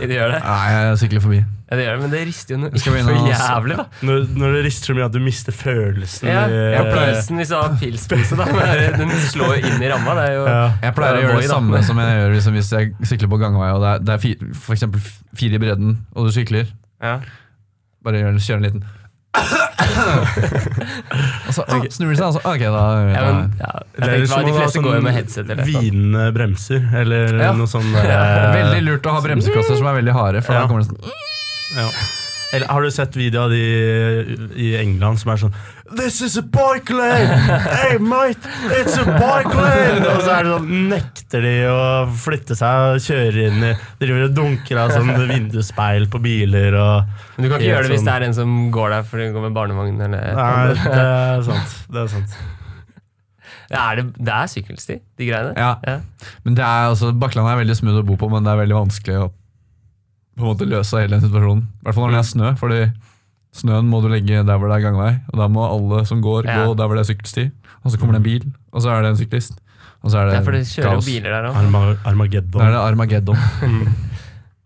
De gjør det, Nei, jeg sykler forbi. ja, de gjør det, men det rister jo noe Skal vi inn for og- jævlig, da. Når, når det rister så mye at du mister følelsen eh, Ja, eh, i- ja, Pilsen hvis du har pilspose, da. men Den slår jo inn i ramma. Det er jo Ja. Jeg pleier å gjøre det samme som jeg gjør liksom, hvis jeg sykler på gangvei, og det er, det er fi- for eksempel fire i bredden, og du sykler. Ja. Bare gjør, kjør en liten Og så ah, snur de seg, og så Ok, da Ja, men, ja. Jeg Eller tenkte, som å hva, de ha fleste sånn går jo med headset eller noe. Hvinende bremser, eller Ja. noe sånt. Det er Veldig eh, lurt å ha bremseklosser som er veldig harde, for Ja. da kommer det sånn Ja. Eller har du sett video av de i England som er sånn This is a bike lane! Hey mate, it's a bike lane! Og så er det sånn, nekter de å flytte seg og kjøre inn i Driver og dunker av sånn vindusspeil på biler og Men du kan ikke Helt gjøre det hvis sånn. det er en som går der for å gå med barnevogn eller Nei, det er sant. Det er sant. Ja, Er det, det er sykkelsti, de greiene. Ja. Ja. Men det er altså Bakklandet er veldig smooth å bo på, men det er veldig vanskelig å på en måte løse hele den situasjonen. I hvert fall når det er snø, fordi snøen må du legge der hvor det er gangvei, og da må alle som går, Ja. gå der hvor det er sykkelsti. Og så kommer det en bil, og så er det en syklist, og så er Ja, det for det kjører jo kaos. biler der òg. Arma- Da er Armageddon. det Armageddon.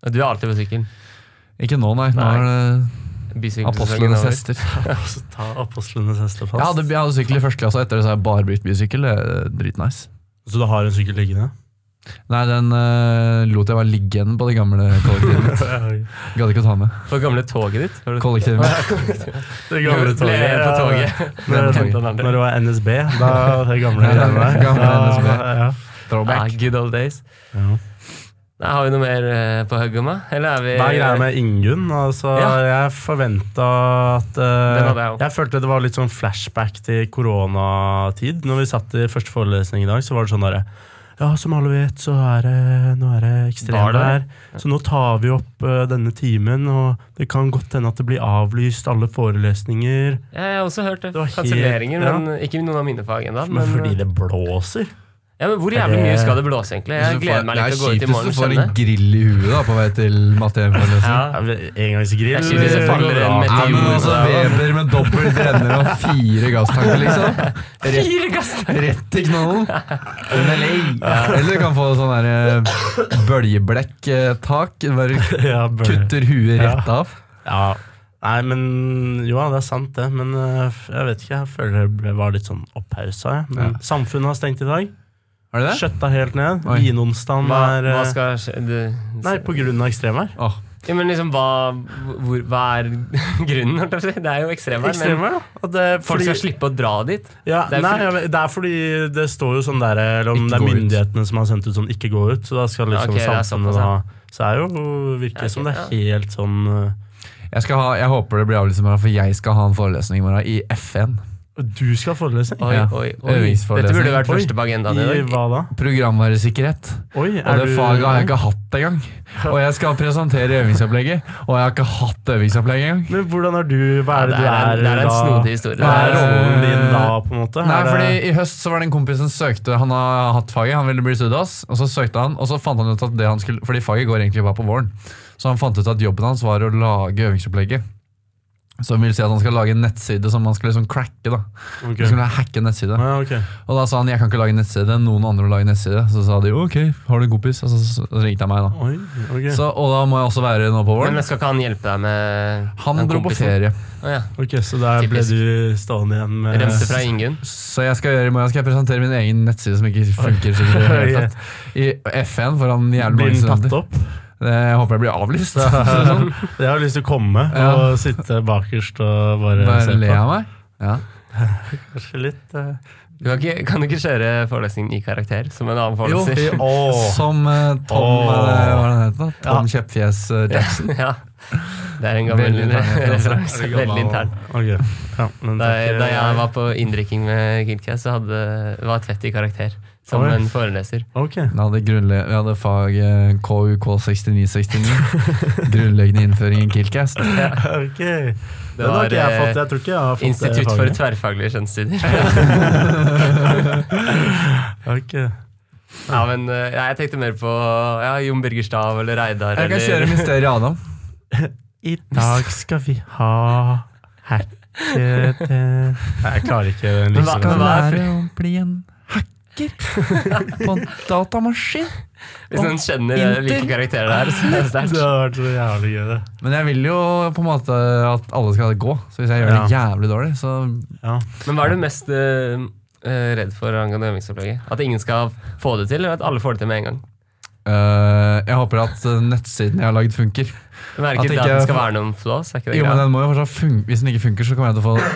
Og du er alltid på sykkel. Ikke nå, nei. Nå Nei. er det Bysykkelsesongen apostlenes over. hester. Så Ta apostlenes hester Jeg hadde, fast. jeg hadde sykkel i første klasse, og etter det så har jeg bare brukt bysykkel. Det er dritnice. Så du har en sykkel liggende? Nei, den eh, lot jeg bare ligge igjen på det gamle kollektivet. Det Gadd ikke å ta med. På gamle toget ditt. Har du- Kollektivet mitt. gamle Ble toget. på toget. Når, Toget. når det var NSB, da det gamle Ja, greiene der. gamle NSB. Ja, Ah, Throwback. good old days. ja. Ja. Nei, har vi noe mer eh, på hugget med? Eller er vi Hva er greia med Ingunn? Altså, Eh, Ja. Jeg forventa at eh, Den hadde jeg også. Jeg følte det var litt sånn flashback til koronatid. Når vi satt i første forelesning i dag, så var det sånn derre Ja, som alle vet, så er det Nå er det Var det ekstremvær. Så nå tar vi opp eh, denne timen, og det kan godt hende at det blir avlyst alle forelesninger. Ja, Jeg har også hørt det. Det var helt- Kanselleringer, ja. men ikke noen av mine fag ennå. Men fordi Men, eh, det blåser. ja, men hvor Er jævlig mye det- skal det blåse, egentlig? Jeg gleder meg litt til å gå ut i morgen. Det er kjipt hvis du får en skjønner jeg. grill i huet da, på vei til Mathien. Ja. Ja, eh, Engangsgrill. Jeg synes det faller en Ja, Ja, meteor. Eh, men altså Weber med dobbelt brenner og fire gasstanker, liksom. Fire gass! Rett i knollen. Eller eller du kan få sånn der, eh, bøljeblekk-tak. Bare Ja, bare- kutter huet rett av. Ja. Nei, men jo, ja, det er sant det. Men øh, f- jeg vet ikke, jeg føler det ble- var litt sånn opphausa. jeg. Men Ja. samfunnet har stengt i dag. Er det det? Skjøtta helt ned. Oi. Vinonsdagen er Hva, øh, hva skal skje? Du- Nei, på grunn av ekstremvær. Åh, Ja, men liksom, hva, hvor, hva er grunnen? holdt jeg på å si? Det er jo ekstremvær. Men Ekstremvær, da. At det, folk fordi- skal slippe å dra dit. Ja, Det er nei, fordi- jeg vet- det er fordi det står jo sånn der Eller om Ikke det er gå ut. myndighetene som har sendt ut sånn 'ikke gå ut', så da skal Ja, liksom ok, det er samfunnet såpass, ja. da Så er jo virker Ja, ok, som det er helt sånn øh, Jeg, skal ha, jeg håper det blir avlyst i morgen, for jeg skal ha en forelesning i morgen i FN. eh, Du skal ha forelesning? Oi, Ja. oi, oi. Dette Øvingsforelesning. burde vært Oi. første på agendaen i I dag. hva da? Programvaresikkerhet. Oi, Og det faget har jeg ikke hatt engang. Og jeg skal presentere øvingsopplegget, og jeg har ikke hatt øvingsopplegg engang. Men hvordan er du Hva er Det det du er en, er, det er en da? snodig historie. Hva er Det er- rollen din da, på en måte? Nei, Er det- fordi I høst så var det en kompis som søkte Han har hatt faget, han ville bli studias, og så søkte han, og så fant han ut at det han skulle Fordi faget går egentlig bare på våren, så han fant ut at jobben hans var å lage øvingsopplegget. Som vil si at han skal lage en nettside som man skal liksom cracke. da Ok. Han skulle hacke en nettside Ja, ok. Og da sa han jeg kan ikke lage nettside, noen andre må lage nettside. Så sa de ok, har du en kompis? Og så, så ringte han meg, da. Oi, ok. Så, og da må jeg også være nå på Men våren. skal ikke han hjelpe deg med Han den dro på kompisen? ferie. Å ja. ok, så der ble Typisk. du stående igjen med Rømte fra Ingunn. Så jeg skal gjøre i morgen skal jeg presentere min egen nettside som ikke funker. sikkert i det hele tatt. I FN foran jævlig Blir mange den tatt studenter. opp? Eh, Jeg håper jeg blir avlyst. Så, jeg har lyst til å komme Sånn, Ja. og sitte bakerst og bare, Bare se le på. av meg. Ja. Kanskje litt eh, Du kan, ikke, kan du ikke kjøre forelesning i karakter, som en annen Jo. foreleser? Åh. Som eh, Tom Åh. oh. Hva er det han heter? da? Tom Kjeppfjes eh, Jackson. ja. Det er en gammel Veldig intern referanse. referanse. Er det gammel? Veldig intern. Ok, ja, men Da, takk, da eh, jeg var på inndrikking med Kidcast, så hadde, var Tvedt i karakter som Oi. en foreleser. Ok, Vi hadde, grunnle- vi hadde fag eh, KUK6969. Grunnleggende innføring i Killcast. ok. Den har var, ikke jeg eh, fått. Jeg tror ikke jeg har fått Institutt for det tverrfaglige kjønnsstudier. Ok. Ja, men eh, jeg tenkte mer på ja, Jon Birger Stav eller Reidar. Jeg kan kjøre eller, Mysteriet Adam. I dag skal vi ha hacket Nei, jeg klarer ikke den Men hva- lyset. men hva er å bli en hacker på en datamaskin. Hvis noen kjenner eh, hvilke Inter- karakterer det er, så er det Det sterkt. har vært så jævlig gøy, det. Men jeg vil jo på en måte at alle skal gå, så hvis jeg gjør det jævlig dårlig, så Ja. Men hva er du mest eh, eh, redd for angående øvingsopplegget? At ingen skal få det til, eller at alle får det til med en gang? øh, Jeg håper at øh, nettsiden jeg har lagd, funker. Du merker At ikke ikke- at det skal være noen flås? Er ikke det Jo, men greit? den må jo fortsatt funke. Hvis den ikke funker, så kommer jeg til å få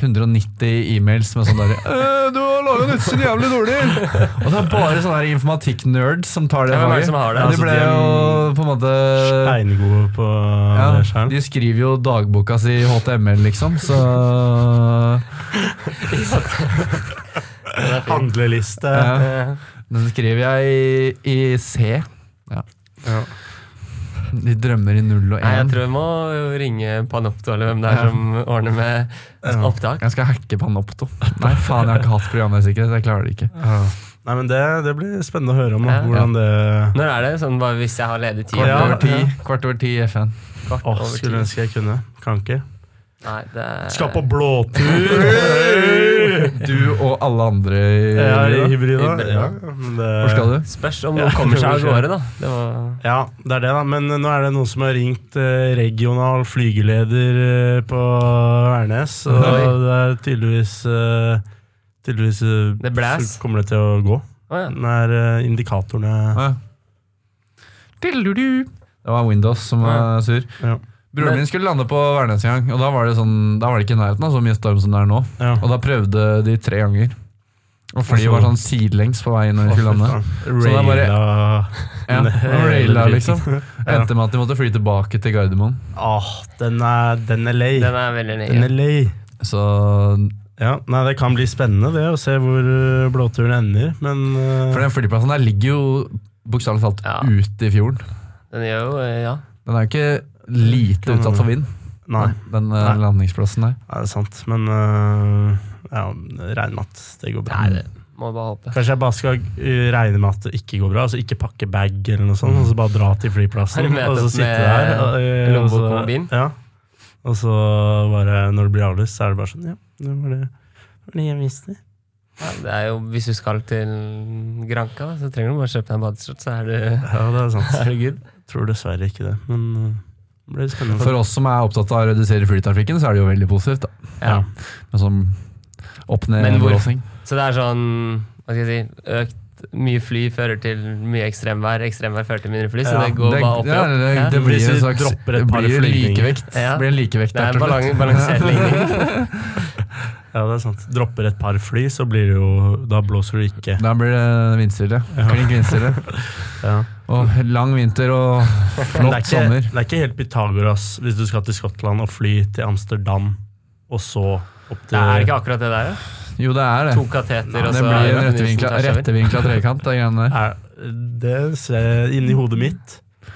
190 e-mails med sånn der «Øh, Du har laga nettsiden jævlig dårlig! Og det er bare sånne der informatikk-nerds som tar det. Ja, hvem er det faget. som har det? Ja, Altså, de ble de er- jo på en måte Steingode på Eh, det ja, sjøl. De skriver jo dagboka si i HTML, liksom, så Det er fint. Handleliste. ja. Eh, Den skriver jeg i, i C. Ja. De drømmer i null og Nei, jeg én. tror jeg må ringe Panopto eller hvem det er som ordner med opptak. Jeg skal hacke Panopto. Nei, faen, jeg har ikke hatt programvaresikkerhet. Jeg klarer det ikke. Ja. Nei, men det, det blir spennende å høre om da, Ja. hvordan det Når er det? Sånn bare hvis jeg har ledig tid? Kvart Ja, over ti, ja. kvart over ti i FN. Kvart Åh, over skulle ti. ønske jeg kunne. Kan ikke. Nei, det er... Skal på blåtur! Du og alle andre i Ja, i Hvor hybrida. Hybrida. Ja, men det, skal du? Spørs om noen kommer seg av gårde, da. Det var... Ja, det er det, da. Men eh, nå er det noen som har ringt eh, regional flygeleder eh, på Værnes. Og Oi. det er tydeligvis eh, Tydeligvis eh, Det blæs. så kommer det til å gå. Å ja. Den er eh, indikatorene Ja. Tildudu. Det var Windows som var sur. Ja. Broren min skulle lande på Værnes en gang, og da var det, sånn, da var det ikke i nærheten av så mye storm som det er nå. ja. Og da prøvde de tre ganger. Og Altså- flyet var sånn sidelengs på vei inn når vi skulle lande. Så det er bare- Raila Ja, Nei, og raila, liksom. Ja. Endte med at de måtte fly tilbake til Gardermoen. Åh, den er, den er lei. Den er veldig Den nøye. er lei. Så Ja, nei, det kan bli spennende det, å se hvor eh, blåturen ender, men eh, For den flyplassen der ligger jo bokstavelig talt Ja. ute i fjorden. Den gjør jo eh, ja. Den er jo ikke lite utsatt for vind, Nei, den eh, Nei. landingsplassen der. det er sant. Men eh, ja, regn med at det går bra. Nei, det må bare håpe. Kanskje jeg bare skal eh, regne med at det ikke går bra, altså ikke pakke bag eller noe sånt, og så bare dra til Har flyplassen, du møtt og så opp sitte med der. og, eh, og lommebok så- og mobil? Ja. Og så bare, når det blir avlyst, så er det bare sånn, ja, det var det, det, var det jeg visste. Ja, det er jo, hvis du skal til Granca, da, så trenger du bare kjøpe deg en badeskjørt, så er du, Ja, det er sant. er du good. Jeg tror dessverre ikke det, men eh, det blir spennende. For oss som er opptatt av å redusere flytrafikken, så er det jo veldig positivt. da. Ja. Ja. Med sånn opp ned Men hvor- blåsing. Så det er sånn Hva skal jeg si økt, Mye fly fører til mye ekstremvær. Ekstremvær fører til mindre fly, så Ja, det går det, bare opp ja, og opp. det, Ja. det blir Hvis en vi slags dropper et det par blir jo flygninger. likevekt. Ja. Blir en likevekt Det er en der til balan- slutt. balansert ligning. Ja, det er sant. Dropper et par fly, så blir det jo Da blåser du ikke. Da blir det vindstille. Ja. Klink vindstille. Ja. Og lang vinter og Men det er, flott ikke, sommer. det er ikke helt Pythagoras hvis du skal til Skottland og fly til Amsterdam, og så opp til Det er ikke akkurat det der, ja. Jo, det er det. To kateter, og det så blir en er det rettevinkla, Nilsen tar seg over. rettevinkla trekant. Det greiene der. er, Det ser inni hodet mitt.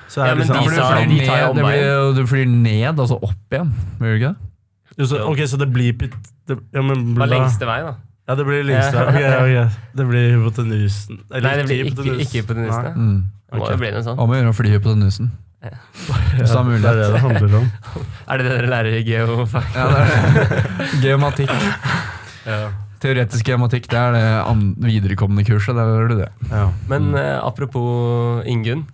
Så er Ja, det men liksom, de For du sa- flyr, de tar jo ned, det blir, omveien. du flyr ned, og så opp igjen. Gjør du ikke det? Jo, så, ok, så det blir pit, det, ja, men, Det var da- lengste vei, da. Ja, det blir lengste. Ok, ok. Det blir hypotenusen. Eller Nei, det blir ikke, ikke hypotenusen. Nei. ja. Mm. Det må Ok. jo bli noe sånt. Om å gjøre å fly på den nusen. Hvis Det du har er mulighet. det det handler om. Er det det dere lærer i geofag? Ja, det er det. Geomatikk. Teoretisk geomatikk, det er det an- viderekommende kurset. Der gjør du det. Ja. Men eh, apropos Ingunn.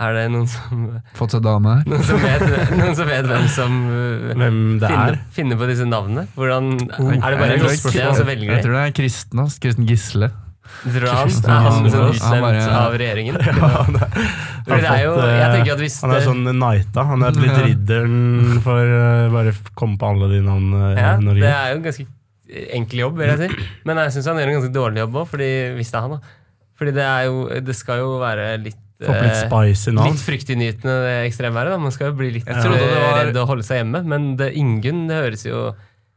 Er det noen som, Fått seg dame her. noen som, vet, noen som vet hvem som eh, Hvem det finner, er? finner på disse navnene? Hvordan, Oh, er det bare Jeg en tror liste, det er- og så velger Jeg de? tror det er kristen hans. Kristen Gisle. Tror du han Kristen er han Hansen, som han bare- utnevnt av regjeringen? han er, For det er jo, jeg tenker at hvis han er det- sånn knighta. Han er blitt Ja. ridderen for eh, bare f- komme på alle de navnene Ja, her i eh, det Norge. er jo en ganske enkel jobb, vil jeg si. Men jeg syns han gjør en ganske dårlig jobb òg, hvis det er han. da. Fordi det, er jo, det skal jo være litt Få opp litt eh, spicy navn. Litt fryktinngytende det ekstremværet. da. Man skal jo bli litt Jeg trodde det eh, var- redd og holde seg hjemme, men det Ingunn det høres jo,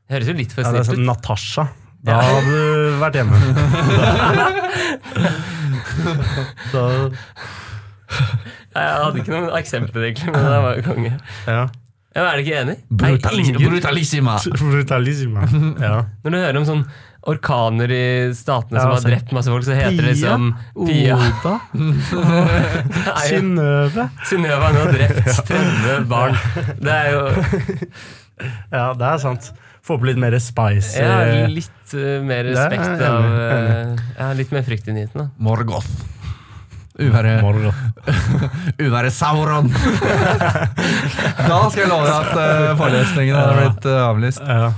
det høres jo litt for Ja, det er snilt sånn ut. Natasha. Da Ja. hadde du vært hjemme. da, Jeg hadde ikke noen eksempler, egentlig, Ah. men det var jo konge. ja. Ja, men er du ikke enig? Nei, Brutali- Ingunn, Brutalissima! Brutalisme. Ja. når du hører om sånn orkaner i statene Ja, som har altså, drept masse folk, så heter det Pia. Oh. liksom Pia. Oda. Nei, Synnøve. Synnøve har nå drept 30 barn. Det er jo Ja, det er sant. Få på litt mer spice. ja, litt eh, mer Det er jeg respekt enig, av enig. eh, ja, Litt mer fryktinngytende. Morgoth. Uværet Morgoth. Uværet Sauron! da skal jeg love deg at eh, forelesningen hadde blitt eh, avlyst. Ja.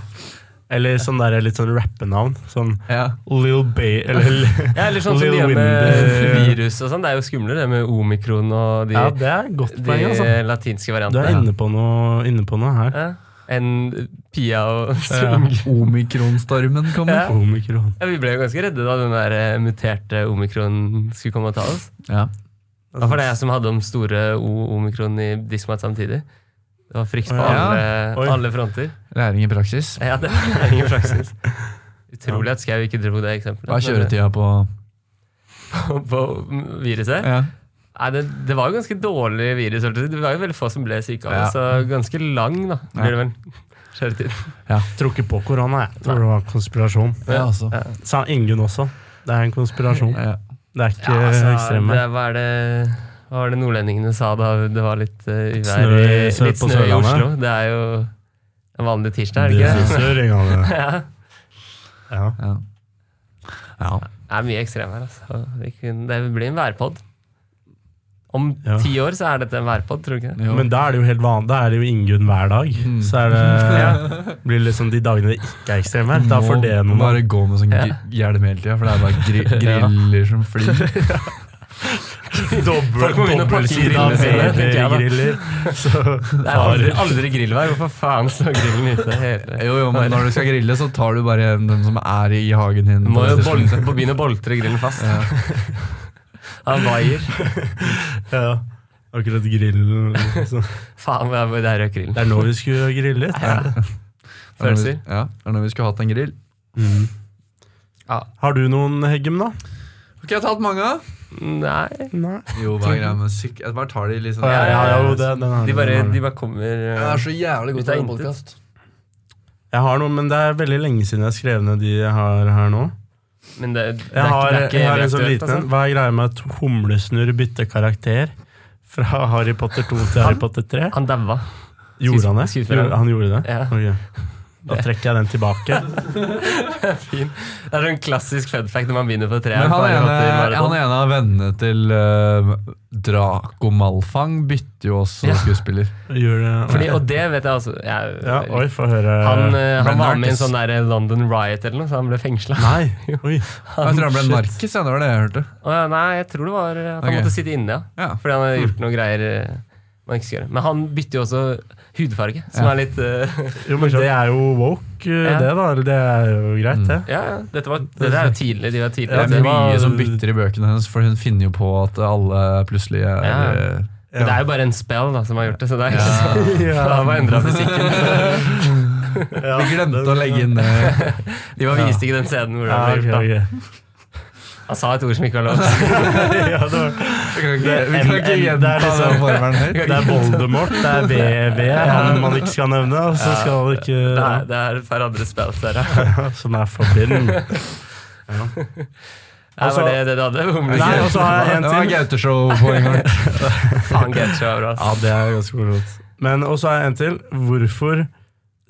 Eller sånn der, litt sånn rappenavn. Sånn Ja. Lil Bay Eller Ja, eller sånn som de Little gjør med Wind, virus og sånn. Det er jo skumlere, det med omikron og de, Ja, det er et godt de poeng, altså. latinske Du variantene. er inne på noe, inne på noe her. Ja. En Pia og Ja. Sung. Eh, Omikronstormen kommer. Ja. Omikron. Ja, vi ble jo ganske redde da den der eh, muterte omikron skulle komme og ta oss. Ja. Det var det jeg som hadde om store O omikron i diskmat samtidig. Det var frykt på Ja. alle, Oi. alle fronter. Læring i praksis. Ja, det var ingen praksis. Utrolig at Skau ikke dro det eksempelet. Hva er kjøretida på På, på viruset. ja. Nei, det, det var jo ganske dårlig virus. hørte jeg. Det var jo veldig få som ble syke av det, Ja. så ganske lang da, blir det vel. Kjøretid. Tror ikke på korona, jeg. Tror det var konspirasjon. Ja, altså. Ja. Sa Ingunn også. Det er en konspirasjon. Ja. Det er ikke ekstreme. altså, det, hva, er det, hva var det nordlendingene sa da det var litt eh, uvær Snø i, i Sør- litt på snø i Sørlandet. Oslo? Det er jo en vanlig tirsdag, er det ikke? det? Søringene. Ja. Ja. Ja. ja. Det er mye ekstrem her, altså. Vi kunne- Det blir en værpod. Om Ja. ti år så er dette en værpod, tror du ikke det? Jo. Men da er det jo helt vanlig. Da er det jo Ingunn hver dag. Mm. Så er det, blir det liksom de dagene det ikke er ekstremvær. Da får det Må noe. Bare gå med sånn Ja. gri- hjelm hele tida, for det er bare gri griller som flyr. Folk må begynne å pakke inn grillene sine, tenker jeg da. babygiller. Så Det er aldri, aldri grillvær. Hvorfor faen står grillen ute? hele- Eh, Jo, jo, men når du skal grille, så tar du bare den som er i hagen din. Du må jo sånn. boltre, begynne å boltre grillen fast. Ja. Han vaier. Ja, akkurat grillen. liksom. Faen, det er- det er rød grillen. Det er nå vi skulle grille litt. Det er når vi- Følelser. Ja, det er når vi skulle hatt en grill. Ja. Mm. Har du noen Heggem, da? Ok, jeg har tatt mange. Nei Nei. Jo, hva er greia med syk... Jeg bare tar de litt sånn. Ja, ja, ja, jo, det, den har De jeg, bare, den har de jeg. bare kommer Jeg eh, er så jævlig god Det er til å intet. podkast. jeg har noen, men det er veldig lenge siden jeg skrev ned de jeg har her nå. Men det, det, Jeg har, er, ikke- altså. det jeg er har en ikke sånn evig liten en. aktuelt. Hva er greia med at humlesnurr bytter karakter? Fra Harry Potter 2 til Harry Potter 3? Altså. Han daua. Gjorde han det? skuespilleren. Gjorde- Han gjorde det? Ja, Ok. Da trekker jeg den tilbake. fin. Det er sånn klassisk fun fact når man begynner på tre. Men han Bare at ene, det han bare- sånn. ene av vennene til eh, Draco Malfang bytter jo også Ja. skuespiller. Gjorde det. Fordi, og det vet jeg også. Jeg, Ja, oi, få høre. han, eh, Ble han var med i en narkis. sånn der London Riot eller noe, så han ble fengsla. Nei, oi. Ah, Jeg tror han ble narkis, ja, det var det jeg hørte. Nei, jeg tror det var eh, at han Ok. måtte sitte inne, ja. Ja. Fordi han har gjort noen greier eh, man ikke skal gjøre. Men han bytter jo også hudfarge, som Ja. er litt eh, Jo, men det er jo woke, eh, Ja. Mm. det, da. eller Det er jo greit, det. Ja, ja. Dette, var, dette er jo tidlig. De var tidlig. Det Ja, er det var, mye som bytter i bøkene hennes, for hun finner jo på at alle plutselig er Ja. eh, Men det er jo bare en spell da, som har gjort det, så det er ikke Ja. så Han har bare endra fysikken. så- Ja, sånn. Vi glemte å legge inn eh, det. De bare Ja. viste ikke den scenen hvor Ja, han ble ok, gjort. ok. da. Han sa et ord som ikke var lov. ja, det, var, Vi kan ikke, Det er vi en- kan ikke en- det gjenta er liksom- den formelen høyt. det er Voldemort, det er VV, han man ikke skal nevne, og så skal man ikke Eh, Det er, det er for andre spill der, ja. Som er forbidden. Ja. Ja, Altså- var det det du hadde? Hvor Nei, mye- altså- og så har jeg Det en var til. Gauteshow-poeng. Faen, Gauthier var bra. Ja, det er ganske morsomt. Men også har jeg en til. Hvorfor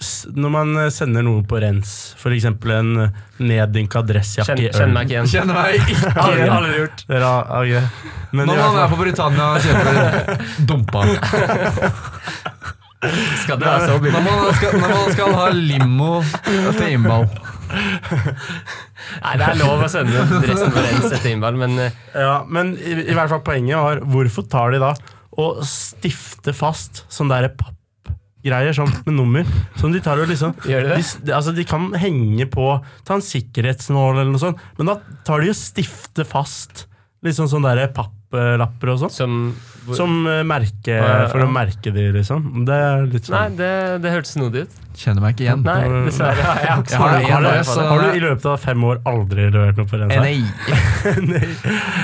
s- når man eh, sender noe på rens, f.eks. en eh, neddynka dressjakke Kjenn, i øl. kjenn meg ikke igjen. Kjenner meg ikke Aldri, igjen. aldri gjort. Dere har- ja, ok. Men i Når hvert man er fall- på Britannia og kjøper dumpa. Skal det være så billig? Når man skal, når man skal ha limo til innball. Nei, det er lov å sende dressen på rens etter innball, men eh, ja, men i, i hvert fall poenget var hvorfor tar de da og stifter fast sånn derre pappgreier sånn, med nummer som de tar og liksom gjør de de, det? s- de- altså, de kan henge på Ta en sikkerhetsnål eller noe sånt, men da tar de og stifter fast liksom sånn derre papplapper og sånn. Som hvor- Som eh, merke, Ja, ja, for ja. å merke de, liksom. Det er litt Nei, sånn. det, det hørtes snodig ut. Kjenner meg ikke igjen. Nei, dessverre. Jeg har ikke Jeg har svart det på igjen, det. jeg, så- Har du i løpet av fem år aldri levert noe på Eh, rensa? Nei.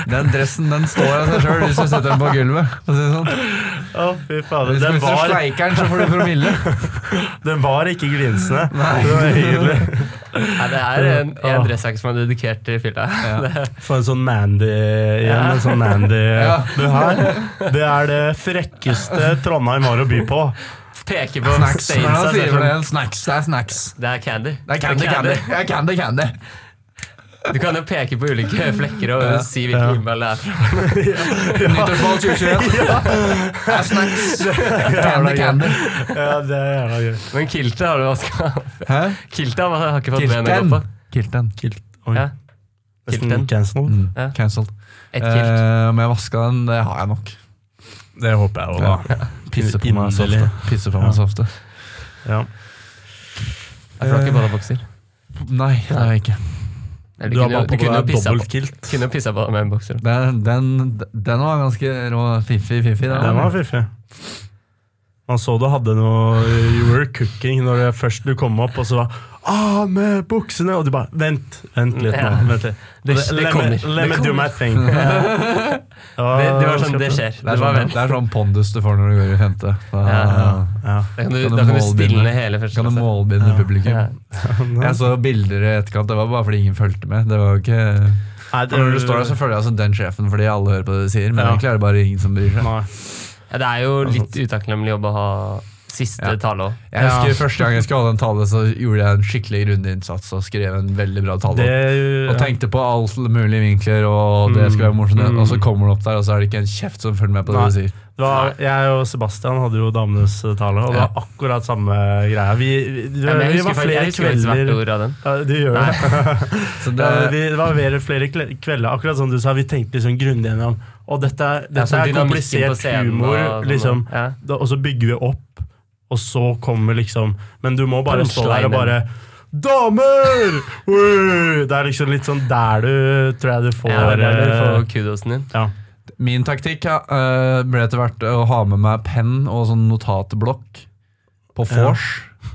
Den dressen den står av seg sjøl hvis du setter den på gulvet. for å si det sånn. Å, fy fader. Hvis Den hvis du var, sleiker den, så får du promille. den var ikke glinsende. Nei. Det var hyggelig. Nei, det er en, en Åh. dressjakke som er dedikert til fylla. Få en sånn Mandy igjen. Ja. En sånn Mandy Ja. Du her, det er det frekkeste Trondheim har å by på. Peker på Snacks. Hva er det stainsa. han Det, sier er for sånn- det? Snacks. Det er snacks. det er candy. Det er candy, candy. Det er candy, candy. Du kan jo peke på ulike flekker og Ja. si Ja. hvilken innball det er fra. Nyttårsball 2021. Det er snacks. Candy, candy. Ja, det er jævla gøy. Men kiltet har du vaska. Hæ? Kiltet har har ikke fått ben å gå Kilten. på. Kilten. Oi. Ja. Nesten Kilten. cancelled. Mm. Ja. Cancelled. Et kilt. Eh, Om jeg vaska den, det har jeg nok. Det håper jeg òg, da. Pisser på meg så ofte. Inderlig. Pisser på meg så ofte. Ja. Jeg får ikke badebokser. Nei, det har jeg ikke. Eller Du har kunne- bare Du på kunne jo deg pissa på dobbelt kilt. kunne jo pissa på deg med en bokser. Den, den, den var ganske rå. Fiffig, fiffig. den. Den var fiffig. Man så du hadde noe You were cooking når det først du kom opp, og så var Ah, med buksene! Og du bare Vent, vent litt nå. Ja. Vent litt. Det, Let me- det kommer. Let me Det do kommer. my thing. Det, det var sånn, det skjer. Det Det var er, sånn, vent. det er sånn pondus du får når du går i femte. Da Ja. Ja. Da kan du, Kan du da kan du målbinde? stille hele første kan du klasse. målbinde Ja. publikum. Ja. Nei, Jeg så bilder i etterkant, det var bare fordi ingen fulgte med. Det var jo ikke... det- For når du står der, så føler jeg som den sjefen fordi alle hører på det du sier, men Ja. egentlig er det bare ingen som bryr seg. Nei. Ja, det er jo litt utakknemlig jobb å ha siste Ja. tale òg. Jeg husker Første gang jeg skulle holde en tale, så gjorde jeg en skikkelig grundinnsats og skrev en veldig bra tale. Det og tenkte på alle mulige vinkler, og det skal være morsomt. Mm. Og så kommer du opp der, og så er det ikke en kjeft som følger med på det Nei. du sier. Det var, jeg og Sebastian hadde jo Damenes tale, og det var akkurat samme greia. Vi, vi, Ja, men vi jeg var husker faktisk- jeg flere husker faktisk hvert kvelder ord av den. ja, Du gjør Nei. det. Så det, Ja, vi, det var flere, flere kle- kvelder, akkurat som du sa, vi tenkte liksom grundig gjennom. Og dette, er- Ja, dette sånn er dynamikken på komplisert scenen humor, og sånn, liksom. Ja. Da, og så bygger vi opp, og så kommer liksom Men du må bare stå der Punchlinen. og bare Damer! Ui! Det er liksom litt sånn der du tror jeg du får Ja, det er der du eh, får kudosen din. ja. min taktikk ja, eh, ble etter hvert å ha med meg penn og sånn notatblokk på Ja. vors,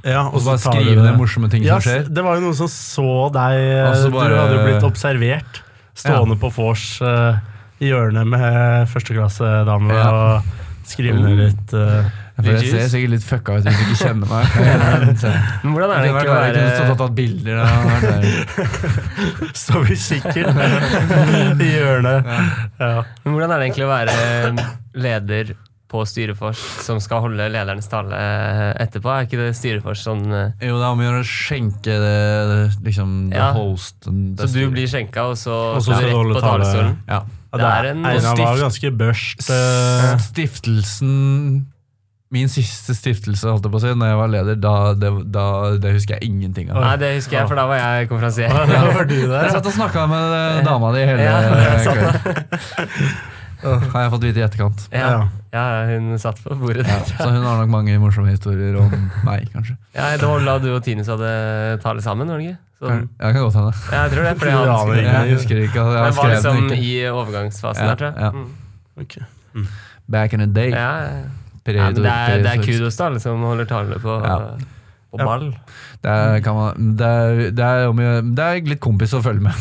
ja, og så tar bare du skrive det. ned morsomme ting Ja, som skjer. Det var jo noen som så deg eh, Og så Du bare- hadde jo blitt observert stående på vors eh, i hjørnet med førsteklassedame Ja. Oh. og skrive ned litt eh, For jeg Jeez. ser sikkert litt fucka ut hvis du ikke kjenner meg. Men Men hvordan er det det var ikke å der jeg kunne stått være og tatt bilder. da. Det var der. Står vi sikkert i hjørnet. Ja. Men hvordan er det egentlig å være eh, leder på Styrefors som skal holde lederens tale eh, etterpå? Er ikke det Styrefors sånn eh, Jo, det er om å gjøre å skjenke det, liksom, the Ja. host and Så the du styr. blir skjenka, og så, Og så skal rett du holde på tale. talerstolen? ja. Ja, Det er en- Einar var ganske børst. eh, Stiftelsen Min siste stiftelse, holdt jeg på å si, når jeg var leder, da, det, da, det husker jeg ingenting av. Nei, det husker jeg, for da var jeg konferansier. Ja, da var du Jeg der. satt og snakka med eh, dama di hele Ja, eh, jeg satt kvelden. Har jeg fått vite i etterkant. Ja, Ja. ja hun satt på bordet. Ja, så hun har nok mange morsomme historier om meg, kanskje. Ja, det var da du og Tinus hadde tale sammen, var det ikke? Sånn. Jeg kan godt hende. Ja, jeg tror det. Fordi Ja, han men- skulle, Jeg husker ikke. at Jeg jeg var har skrevet liksom den ikke. i overgangsfasen Ja, der, tror jeg. ja. Mm. Ok. Back in the day. Ja, ja. Period- Ja, men det, er, det er period- kudos, da, alle som holder tale på Ja. på ball. Det er, kan man, det er, det er, om å gjøre- det er litt kompis å følge med.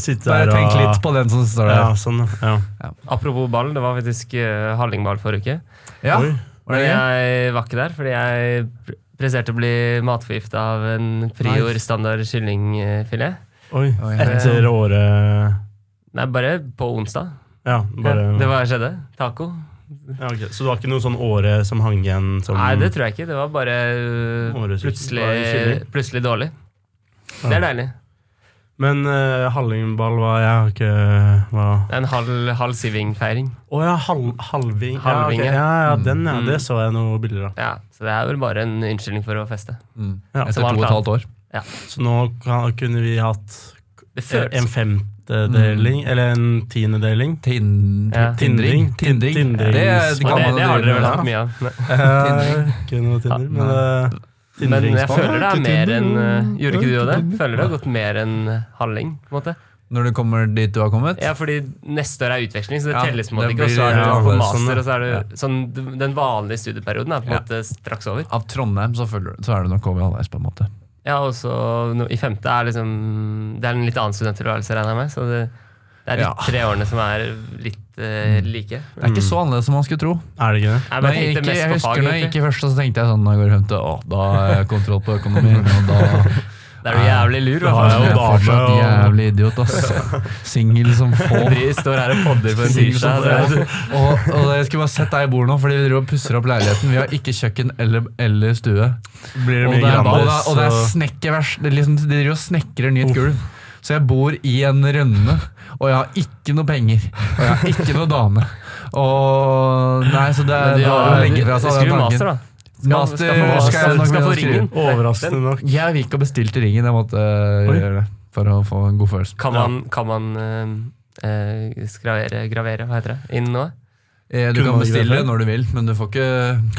Sitte Bare der og tenk litt på den som står Ja, der. sånn, ja. Apropos ball, det var faktisk eh, hallingball forrige uke. Ja, Oi. var Men det gøy? jeg var ikke der fordi jeg pre- presterte å bli matforgifta av en Prior Nice. standard eh, kyllingfilet. Oi. Oi. Etter året Nei, bare på onsdag. Ja, bare Ja, det var skjedde. Taco. ja, ok. Så det var ikke noe sånn åre som hang igjen som Nei, det tror jeg ikke. Det var bare øh, Årets plutselig, var kylling. plutselig dårlig. Ja. Det er deilig. Men eh, Hallingball var Jeg har ikke hva Det er en halv, halv siving-feiring. Å ja, hal, halving. Halvinge. Ja, ok. ja, ja, den, ja. Mm. Det så jeg noen bilder av. Ja, så det er vel bare en unnskyldning for å feste. Mm. Ja, Etter som to og et annet. halvt år. Så nå kan, kunne vi hatt eh, Det en føles femtedeling, Mm. eller en tiendedeling. Tin- Ja. Tindring. Tin- Tindring. tindring. Det, er- Og kan det, man det jo har dere drive vel med, hatt da. mye av. Men- Eh, Ikke noe Tinder, men eh, Men jeg tindringsball. føler det er mer enn øh, Gjorde ikke du jo det? Tinder. Føler det har gått mer enn halling? på en måte. Når du kommer dit du har kommet? Ja, fordi neste år er utveksling, så det Ja, telles på en måte det ikke. Og så blir- er du ja, på det er sånn, master, ja. og så er du sånn Den vanlige studieperioden er på en Ja. måte straks over. Av Trondheim så, føler, du- så er du nok over halvveis, på en måte. Ja, og så no, i femte er liksom Det er en litt annen studenttilværelse, regner jeg med. Så det, det er de Ja. Mm. tre årene som er litt eh, like. Det er ikke så annerledes som man skulle tro. Er det ikke det? Jeg Når bare jeg, tenkte gikk, jeg mest på husker fag. når jeg gikk egentlig. i første, så tenkte jeg sånn når jeg går i femte, å, da har jeg kontroll på økonomien. Og da Det er du jævlig lur, i Da hvert er fall. jo jeg er dame fortsatt og- jævlig idiot, ass. Singel som få. De står her og podder på en Singel som tirsdag. få. Det, Og, og jeg skulle bare sett deg i bordet nå, fordi vi driver og pusser opp leiligheten. Vi har ikke kjøkken eller, eller stue. Blir det Og mye det er, og det Grandis? er, og det er og- snekkervers. Det er liksom, de driver og snekrer nytt Uff. gulv. Så jeg bor i en rønne, og jeg har ikke noe penger. Og jeg har ikke noe dame. Og Nei, så det men er de bare å har, legge fra seg skriv den master, tanken. da. Master skal jeg nok skal begynne få å skrive. ringen. Overraskende nok. Jeg gikk og bestilte ringen. Jeg måtte øh, Oi. gjøre det for å få en god følelse. Kan man, kan man eh, eh, skravere, gravere, hva heter det, inn nå? Eh, Kunne Du kan man gjøre bestille det? når du vil, men du får ikke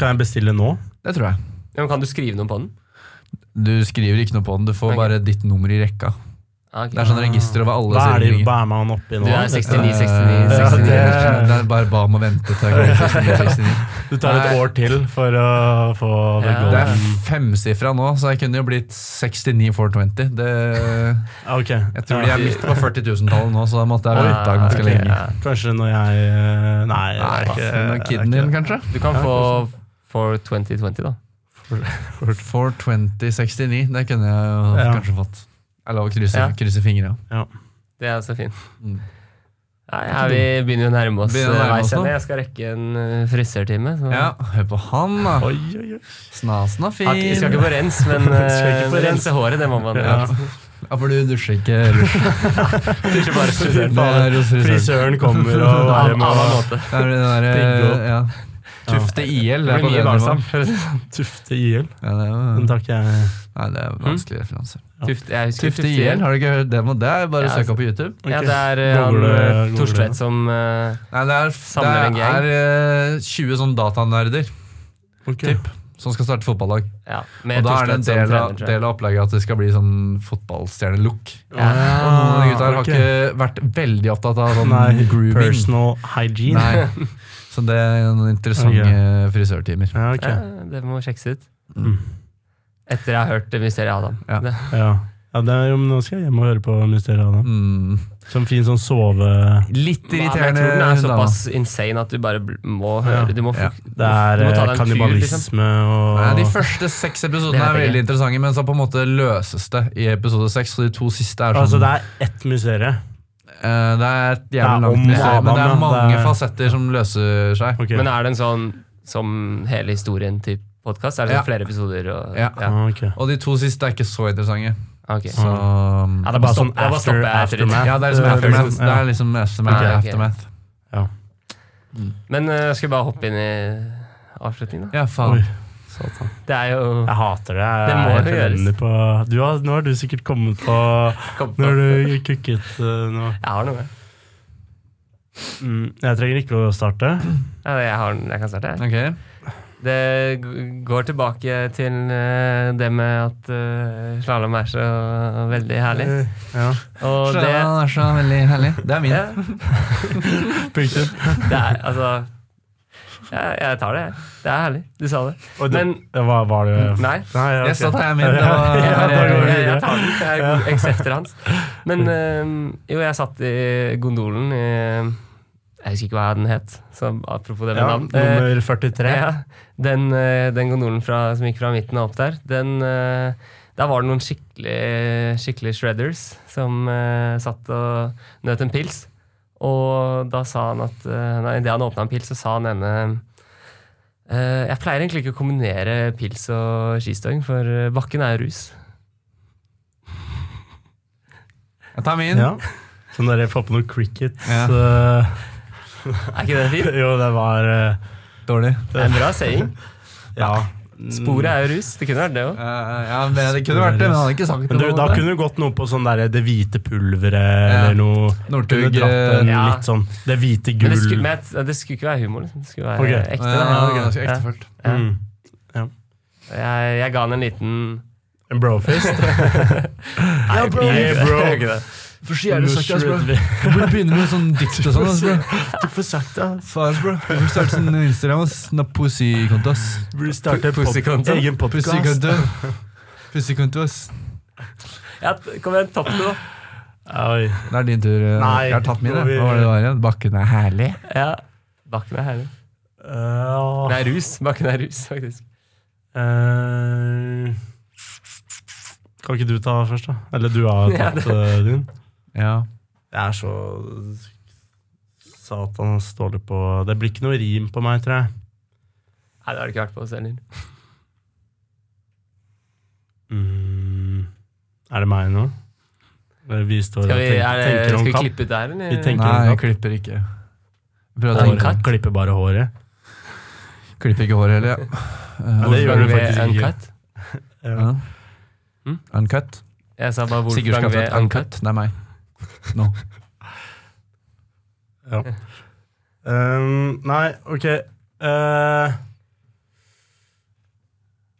Kan jeg bestille nå? Det tror jeg. Ja, men kan du skrive noe på den? Du skriver ikke noe på den. Du får Ok. bare ditt nummer i rekka. Ah, ok. Det er sånn register over alle Hva er sine det ringer. hva er man oppi nå? Du er 69, Eh, 69, ja, 69. det- Det er bare ba om å vente til jeg kommer til 69, 69. Du tar et Nei. år til for å få the Ja. golden. Det er femsifra nå, så jeg kunne jo blitt 69 420. Det, Ok. jeg tror de er midt på 40 000-tallet nå, så da måtte jeg Ah, vente ganske ok, lenge. ja. Kanskje når jeg eh, Nei, det Nei, er ikke- ikke, det er kiden ikke din, kanskje? Du kan Ja, få for 2020, da. det. 42069, det kunne jeg jo Ja. kanskje fått. Jeg lov å krysse, Ja. krysse fingre. Det er så fint. Mm. Nei, ja, vi begynner jo å nærme oss eh, Begynner å nærme veis oss nå. ende. Jeg skal rekke en eh, frisørtime. så- Ja, hør på han, da. Oi, oi, oi. Snasen er Jeg har ikke- jeg skal fin. ikke på rens, men Skal ikke på eh, rens. rense håret, det må man. Ja. Ja, for du dusjer ikke ellers. Det er ikke bare frisøren. Det er hos frisøren. Frisøren kommer og Av bare en annen må måte. Det er den Pigg derre opp. ja. Tufte IL. Det er blir på liksom. mye den balsam. nivåen. for å si det sånn. tufte IL. Ja, det er Den jo- takker jeg. Nei, det er vanskelige referanser. Ja. Tufte, jeg husker Tufte IL, har du ikke hørt dem? og Det er bare å Ja, søke opp på YouTube. Ja, Ok. det er eh, han Googler det- eh, googler Thorstvedt det. som eh, Nei, det er, Samler en det gjeng. er eh, 20 sånn datanerder Ok. Typ. som skal starte fotballag. Ja, Og med da er det en Thorstvedt som del av, trener, tror jeg. del av opplegget at det skal bli sånn fotballstjernelook. Og Ah, noen av de gutta her har ok. ikke vært veldig opptatt av sånn Nei, grooming. Personal hygiene. Nei. Så det er noen interessante frisørtimer. Ja, ok. Ja, det må sjekkes ut. Mm. Etter jeg har hørt eh, Mysteriet Adam. Ja. Det- Ja. Ja, det er, jo, men nå skal jeg hjem og høre på Mysteriet Adam. Mm. Som fin sånn sove... Ja, Litt men irriterende. Jeg tror den er dame. såpass insane at du bare bl- må Ja. høre Du må Ja. fuk- Det er du må ta eh, deg en tur, liksom. kannibalisme og Nei, de første seks Det episodene vet er jeg veldig ikke. interessante, men så på en måte løses det i episode seks. Så de to siste er sånn Altså, det er ett mysterium. Eh, det er et er jævlig langt om mysterium, men det er Adam, ja. mange Det er- fasetter som løser seg. Ok. Men er det en sånn som hele historien type podkast? Er det sånn Ja. flere episoder og Ja. ja. Ah, Ah, ok. Og de to siste er ikke så interessante. ok. Så Ja, Ja, da Bare bare sånn stopp- da bare after- stopper jeg etter litt. aftermath. det er liksom Eh, aftermath. ja. Det er liksom aftermath. Ok, ok. aftermath. Men eh, jeg skal bare hoppe inn i avslutningen, da. Ja, Oi. faen. Satan. Det er jo Jeg hater det. Jeg Det må er helt jo gjøres. elendig på du har, Nå har du sikkert kommet på kom på. Når du kukket uh, nå. Jeg har noe. Mm, jeg trenger ikke å starte. Ja, jeg, har, jeg kan starte, jeg. Ok. Det g- går tilbake til eh, det med at eh, slalåm er så veldig herlig. Eh, Ja, Og Så det, det er så veldig herlig. Det er min. ja, punktum. det er altså Jeg, jeg tar det, jeg. Det er herlig. Du sa det. Og det, Men Mm, hva var det Nei. Nei, ja, Jeg ok. sa det er min. Det var, Jeg, Ja, jeg, da går vi jeg, videre. jeg tar den. Jeg er aksepter hans. Men eh, jo, jeg satt i gondolen i Jeg husker ikke hva den het, så apropos det med ja, navn. Eh, Nummer 43. Ja, den, eh, den gondolen fra, som gikk fra midten og opp der, den, eh, der var det noen skikkelig, skikkelig shredders som eh, satt og nøt en pils. Og da sa han at eh, Nei, idet han åpna en pils, så sa han ene eh, Jeg pleier egentlig ikke å kombinere pils og skistøying, for eh, bakken er jo rus. jeg tar min. Ja. Så når jeg får på noe cricket Ja. så, Er ikke det fint? Jo, det var eh, Dårlig. Det er en bra saying. Ja. Sporet er jo rus. Det kunne vært det òg. Eh, ja, men det kunne vært det, men han hadde ikke sagt det. Men du, på en da måte. kunne du gått noe på sånn der, det hvite pulveret eller noe. Kunne Northug dratt en eh, Ja. litt sånn Det hvite Men det gull. skulle, men jeg- det skulle ikke være humor. Liksom. Det skulle være Ok. ekte. ja, da. ja, ganske Ja. ektefølt. Ja. Mm. Jeg, jeg ga han en liten En brofist. Nei, bro. jeg gjorde Bro. ikke det. For så jævlig altså, sakte, ass, bro. Du burde begynne med sånn dikt og sånn. ass, bro. Du får sagt det. ass. Faen, ass, bro. Du burde starte sånn Instagram, ass. Sånn Pussy-konto, ass. Du burde starte en pod Pussykonto. egen podkast. Pussy-konto. Pussy-konto, ass. Ja, kom igjen, topp det, da. Oi. Det er din tur. eh, Nei, jeg har tatt min. nå jeg. vi- Hva var det det var igjen? Bakken er herlig. Ja. Bakken er herlig. Uh, Nei, rus. Bakken er rus, faktisk. Eh, Kan ikke du ta først, da? Eller du har Ja, tatt eh, din? Ja. Jeg er så satan dårlig på Det blir ikke noe rim på meg, tror jeg. Nei, det har du ikke vært på oss heller. Mm. Er det meg nå? Eller vi står og Skal vi, tenker, er det, tenker skal om vi kapp? klippe ut der, eller? Vi tenker- Nei, om jeg katt? klipper ikke. Prøv å Nei, Håret. tenke. katt? Klipper bare håret. Klipper ikke håret heller, ja. Ja, Eh, det gjør Wolfgang du V. faktisk ikke. Uncut? Ja. ja. Mm? Uncut. Jeg sa bare Sigurd Wolfgang V. Skatvedt. Uncut. Uncut. Det er meg. Nå. Ja. Um, nei, OK Eh,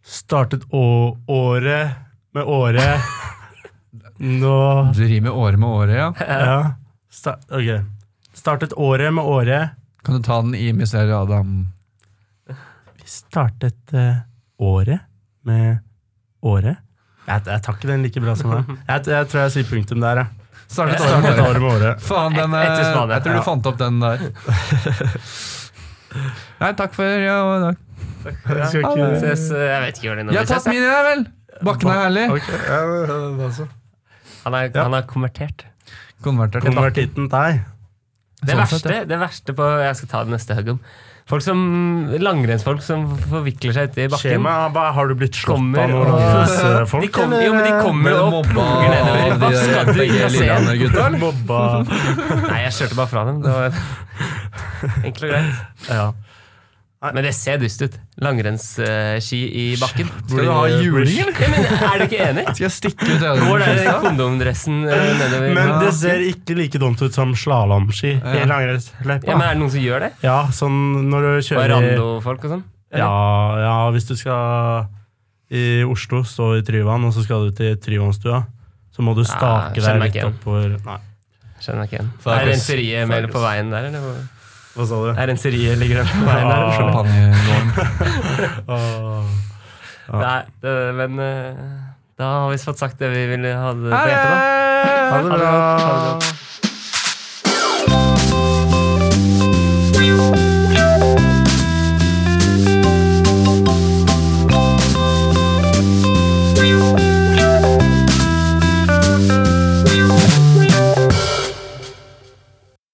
Startet å året med året. Nå Du rimer året med året, ja. Ja. Sta ok. Startet året med året. Kan du ta den i Mysteriet Adam? Vi startet eh, året med året. Jeg, jeg tar ikke den like bra som deg. Jeg, jeg tror jeg sier punktum der, jeg. Startet Startet året med året. Faen, den Et- etter er, Spania, jeg tror ja. du fant opp den der. Nei, takk for ja, takk. Jeg skal ikke- Ja, Ses, eh, jeg vet ikke hvor det Jeg har tatt min, jeg, vel! Bakken er herlig. Ok, ja, det er så. Han er, Ja. han er konvertert. Konvertert. Konvertitten deg. Det Sånn verste, sett, ja. det verste på Jeg skal ta det neste hugg om. Folk som, Langrennsfolk som forvikler seg ute i bakken. Skjema, hva- har du blitt slått Kommer av noen og- landslagsfolk? De kommer- jo, men de kommer Ble og mobba ploger nedover. av Hva de der skal du begge plassere? Lillehammer-gutta, eller? Mobba Nei, jeg kjørte bare fra dem. Det var enkelt og greit. ja. Men det ser dust ut. Langrennsski i bakken. Skal du ha juling, eller? Ja, men Er du ikke enig? Skal jeg stikke ut Går øynene? den kondomdressen eh, nedover? Men det ser ikke like dumt ut som slalåmski i Ja. langrennsløypa. ja, men Er det noen som gjør det? Ja, sånn når du kjører i- Rando-folk og sånn? ja, ja, hvis du skal i Oslo, stå i Tryvann, og så skal du til Tryvannstua, så må du stake skjønner deg meg litt ikke igjen. oppover Nei, Skjønner meg ikke igjen. Fargus. Er renseriet mer på veien der, eller? hvor- hva sa du? Er renseriet ligger den på veien der? eller? Champagnegården. Åh. Nei, det, men eh, da har vi fått sagt det vi ville ha det på Ha hjertet, da. det! Ha det Ha det bra! godt, ha det godt.